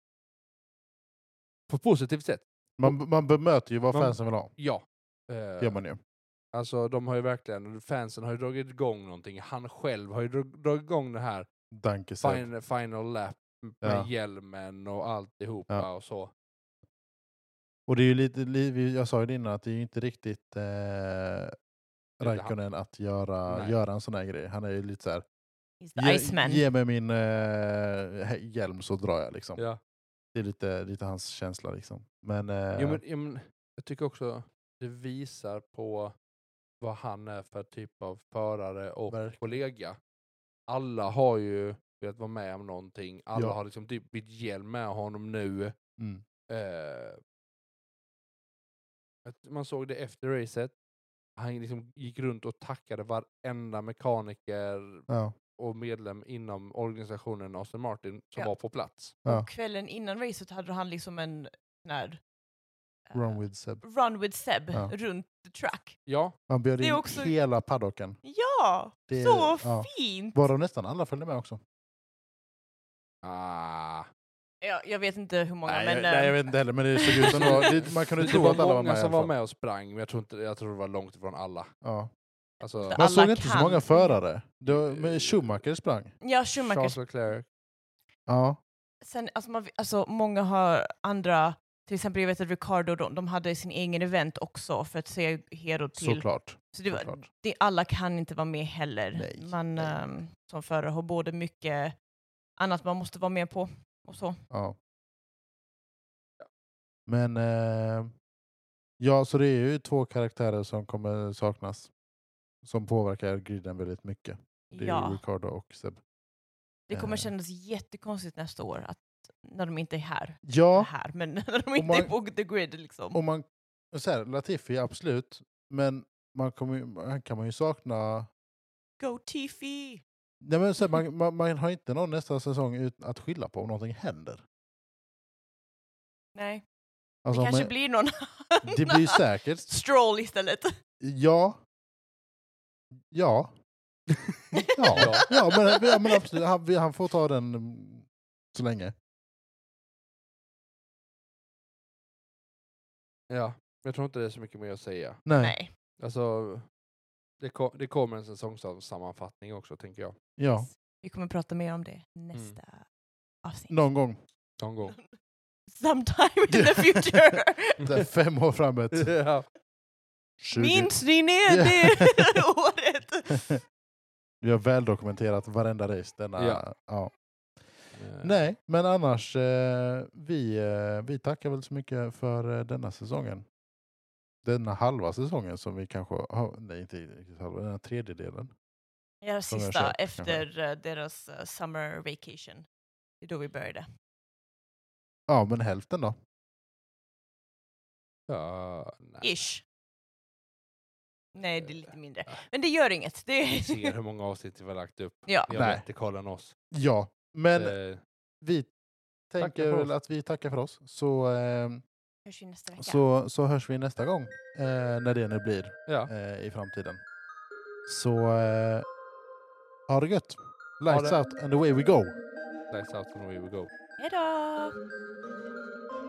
S3: På ett positivt sätt,
S1: Man, man bemöter ju vad
S3: Man-
S1: fansen vill ha.
S3: ja. Eh,
S1: Gör man ju.
S3: Alltså de har ju verkligen, fansen har ju dragit igång någonting. Han själv har ju drag- dragit igång den här
S1: Danke Seb.
S3: final, final lap med
S1: Ja.
S3: hjälmen och alltihopa
S1: Ja.
S3: och så.
S1: Och det är ju lite, li, vi- jag sa ju det innan, att det är ju inte riktigt eh, Raikkonen att göra,
S3: Nej.
S1: göra en sån här grej. Han är ju lite så här,
S2: He's the
S1: ge,
S2: Iceman.
S1: ge mig min eh, he- hjälm så drar jag liksom.
S3: Ja.
S1: Det är lite, lite hans känsla liksom. Men, eh,
S3: Jo, men, jo, men, jag tycker också det visar på vad han är för typ av förare och
S1: Verkligen.
S3: kollega. Alla har ju velat vara med om någonting. Alla
S1: Ja.
S3: har liksom typ bytt hjälm med honom nu.
S1: mm,
S3: Eh, att man såg det efter racet. Han liksom gick runt och tackade varenda mekaniker
S1: ja,
S3: och medlem inom organisationen Aston Martin som
S2: Ja.
S3: var på plats.
S1: ja.
S2: Och kvällen innan racet hade han liksom en sån här, eh,
S1: Run with Seb.
S2: run with Seb
S1: Ja.
S2: runt the track.
S3: Ja,
S1: Han bjöd
S2: Det är
S1: in
S2: också-
S1: hela paddocken.
S2: Ja,
S1: Det-
S2: så
S1: ja.
S2: fint!
S1: Varav nästan alla följde med också.
S3: ah,
S2: Ja, jag vet inte hur många,
S1: nej,
S2: men...
S1: jag,
S2: eh,
S1: nej, jag vet inte heller, men det såg ut som det var, det, man kunde
S3: det
S1: tro att alla
S3: var
S1: var med.
S3: många
S1: i
S3: som
S1: alla
S3: var
S1: fall.
S3: med och sprang, men jag tror, inte, jag tror det var långt ifrån alla.
S1: Ja.
S3: Alltså,
S2: Alla
S1: Man såg inte så
S2: kan.
S1: många förare. Det var, men Schumacher sprang.
S2: Ja, Schumacher.
S3: Charles Leclerc.
S1: Ja.
S2: Sen, alltså, man, alltså, många har andra, till exempel jag vet att Ricardo, de, de hade sin egen event också för att se hero till.
S1: Såklart.
S2: Så det var,
S1: Såklart.
S2: det, alla kan inte vara med heller.
S1: Nej,
S2: man
S1: nej.
S2: ehm, som förare har både mycket annat man måste vara med på och så.
S1: Ja. Men eh, ja, så det är ju två karaktärer som kommer saknas. Som påverkar griden väldigt mycket. Det är ju
S2: ja,
S1: Ricardo och Seb.
S2: det kommer
S1: eh.
S2: kännas jättekonstigt nästa år att, när de inte är här.
S1: Ja,
S2: här men när de inte är
S1: man-
S2: på the grid liksom.
S1: och man, så här, Latifi absolut, men man kommer, ju- han kan man ju sakna...
S2: Go Tifi!
S1: Nej, men så här, man, man, man har inte någon nästa säsong ut att skylla på om någonting händer.
S2: Nej,
S1: Alltså,
S2: det
S1: om
S2: kanske
S1: man,
S2: blir någon
S1: det blir säkert...
S2: stroll istället.
S1: Ja. Ja. Ja,
S3: Ja.
S1: ja, men, ja men absolut. Han, vi- han får ta den mm, så länge.
S3: Ja, jag tror inte det är så mycket mer att säga.
S2: Nej.
S3: Alltså, det, ko- det kommer en säsongssammanfattning också, tänker jag.
S1: Ja,
S2: Vi kommer prata mer om det nästa
S3: Mm.
S2: avsnitt.
S1: någon gång.
S3: Någon gång.
S2: Sometime in the future.
S1: Så här Fem år framåt.
S3: ja.
S1: 20.
S2: Minns ni ner
S1: Ja.
S2: det året?
S1: Vi har väl dokumenterat varenda race denna...
S3: Ja.
S1: Ja.
S3: Eh,
S1: Nej, men annars. Eh, vi, eh, vi tackar väl så mycket för eh, denna säsongen. Denna halva säsongen som vi kanske... har- nej, inte riktigt halva. Den här tredjedelen.
S2: Ja,
S1: Som jag
S2: sista
S1: kört,
S2: efter eh, deras eh, summer vacation. Det är då vi började.
S1: Ja, men hälften då.
S3: Ja, nej.
S2: Ish. Nej, det är lite mindre. Men det gör inget. Det
S3: Vi ser hur många avsnitt vi har lagt upp.
S2: ja.
S3: Vi har
S1: Nej.
S3: bättre koll än oss.
S1: Ja, men
S3: Eh,
S1: vi tänker
S3: för
S1: väl
S3: oss.
S1: att vi tackar för oss. Så, ehm,
S2: Hörs vi nästa vecka.
S1: så, så hörs vi nästa gång, eh, när det nu blir
S3: ja.
S1: eh, i framtiden. Så eh, ha det gött! Lights
S3: det.
S1: out and away we go!
S3: Lights out and away we go.
S2: Hej då!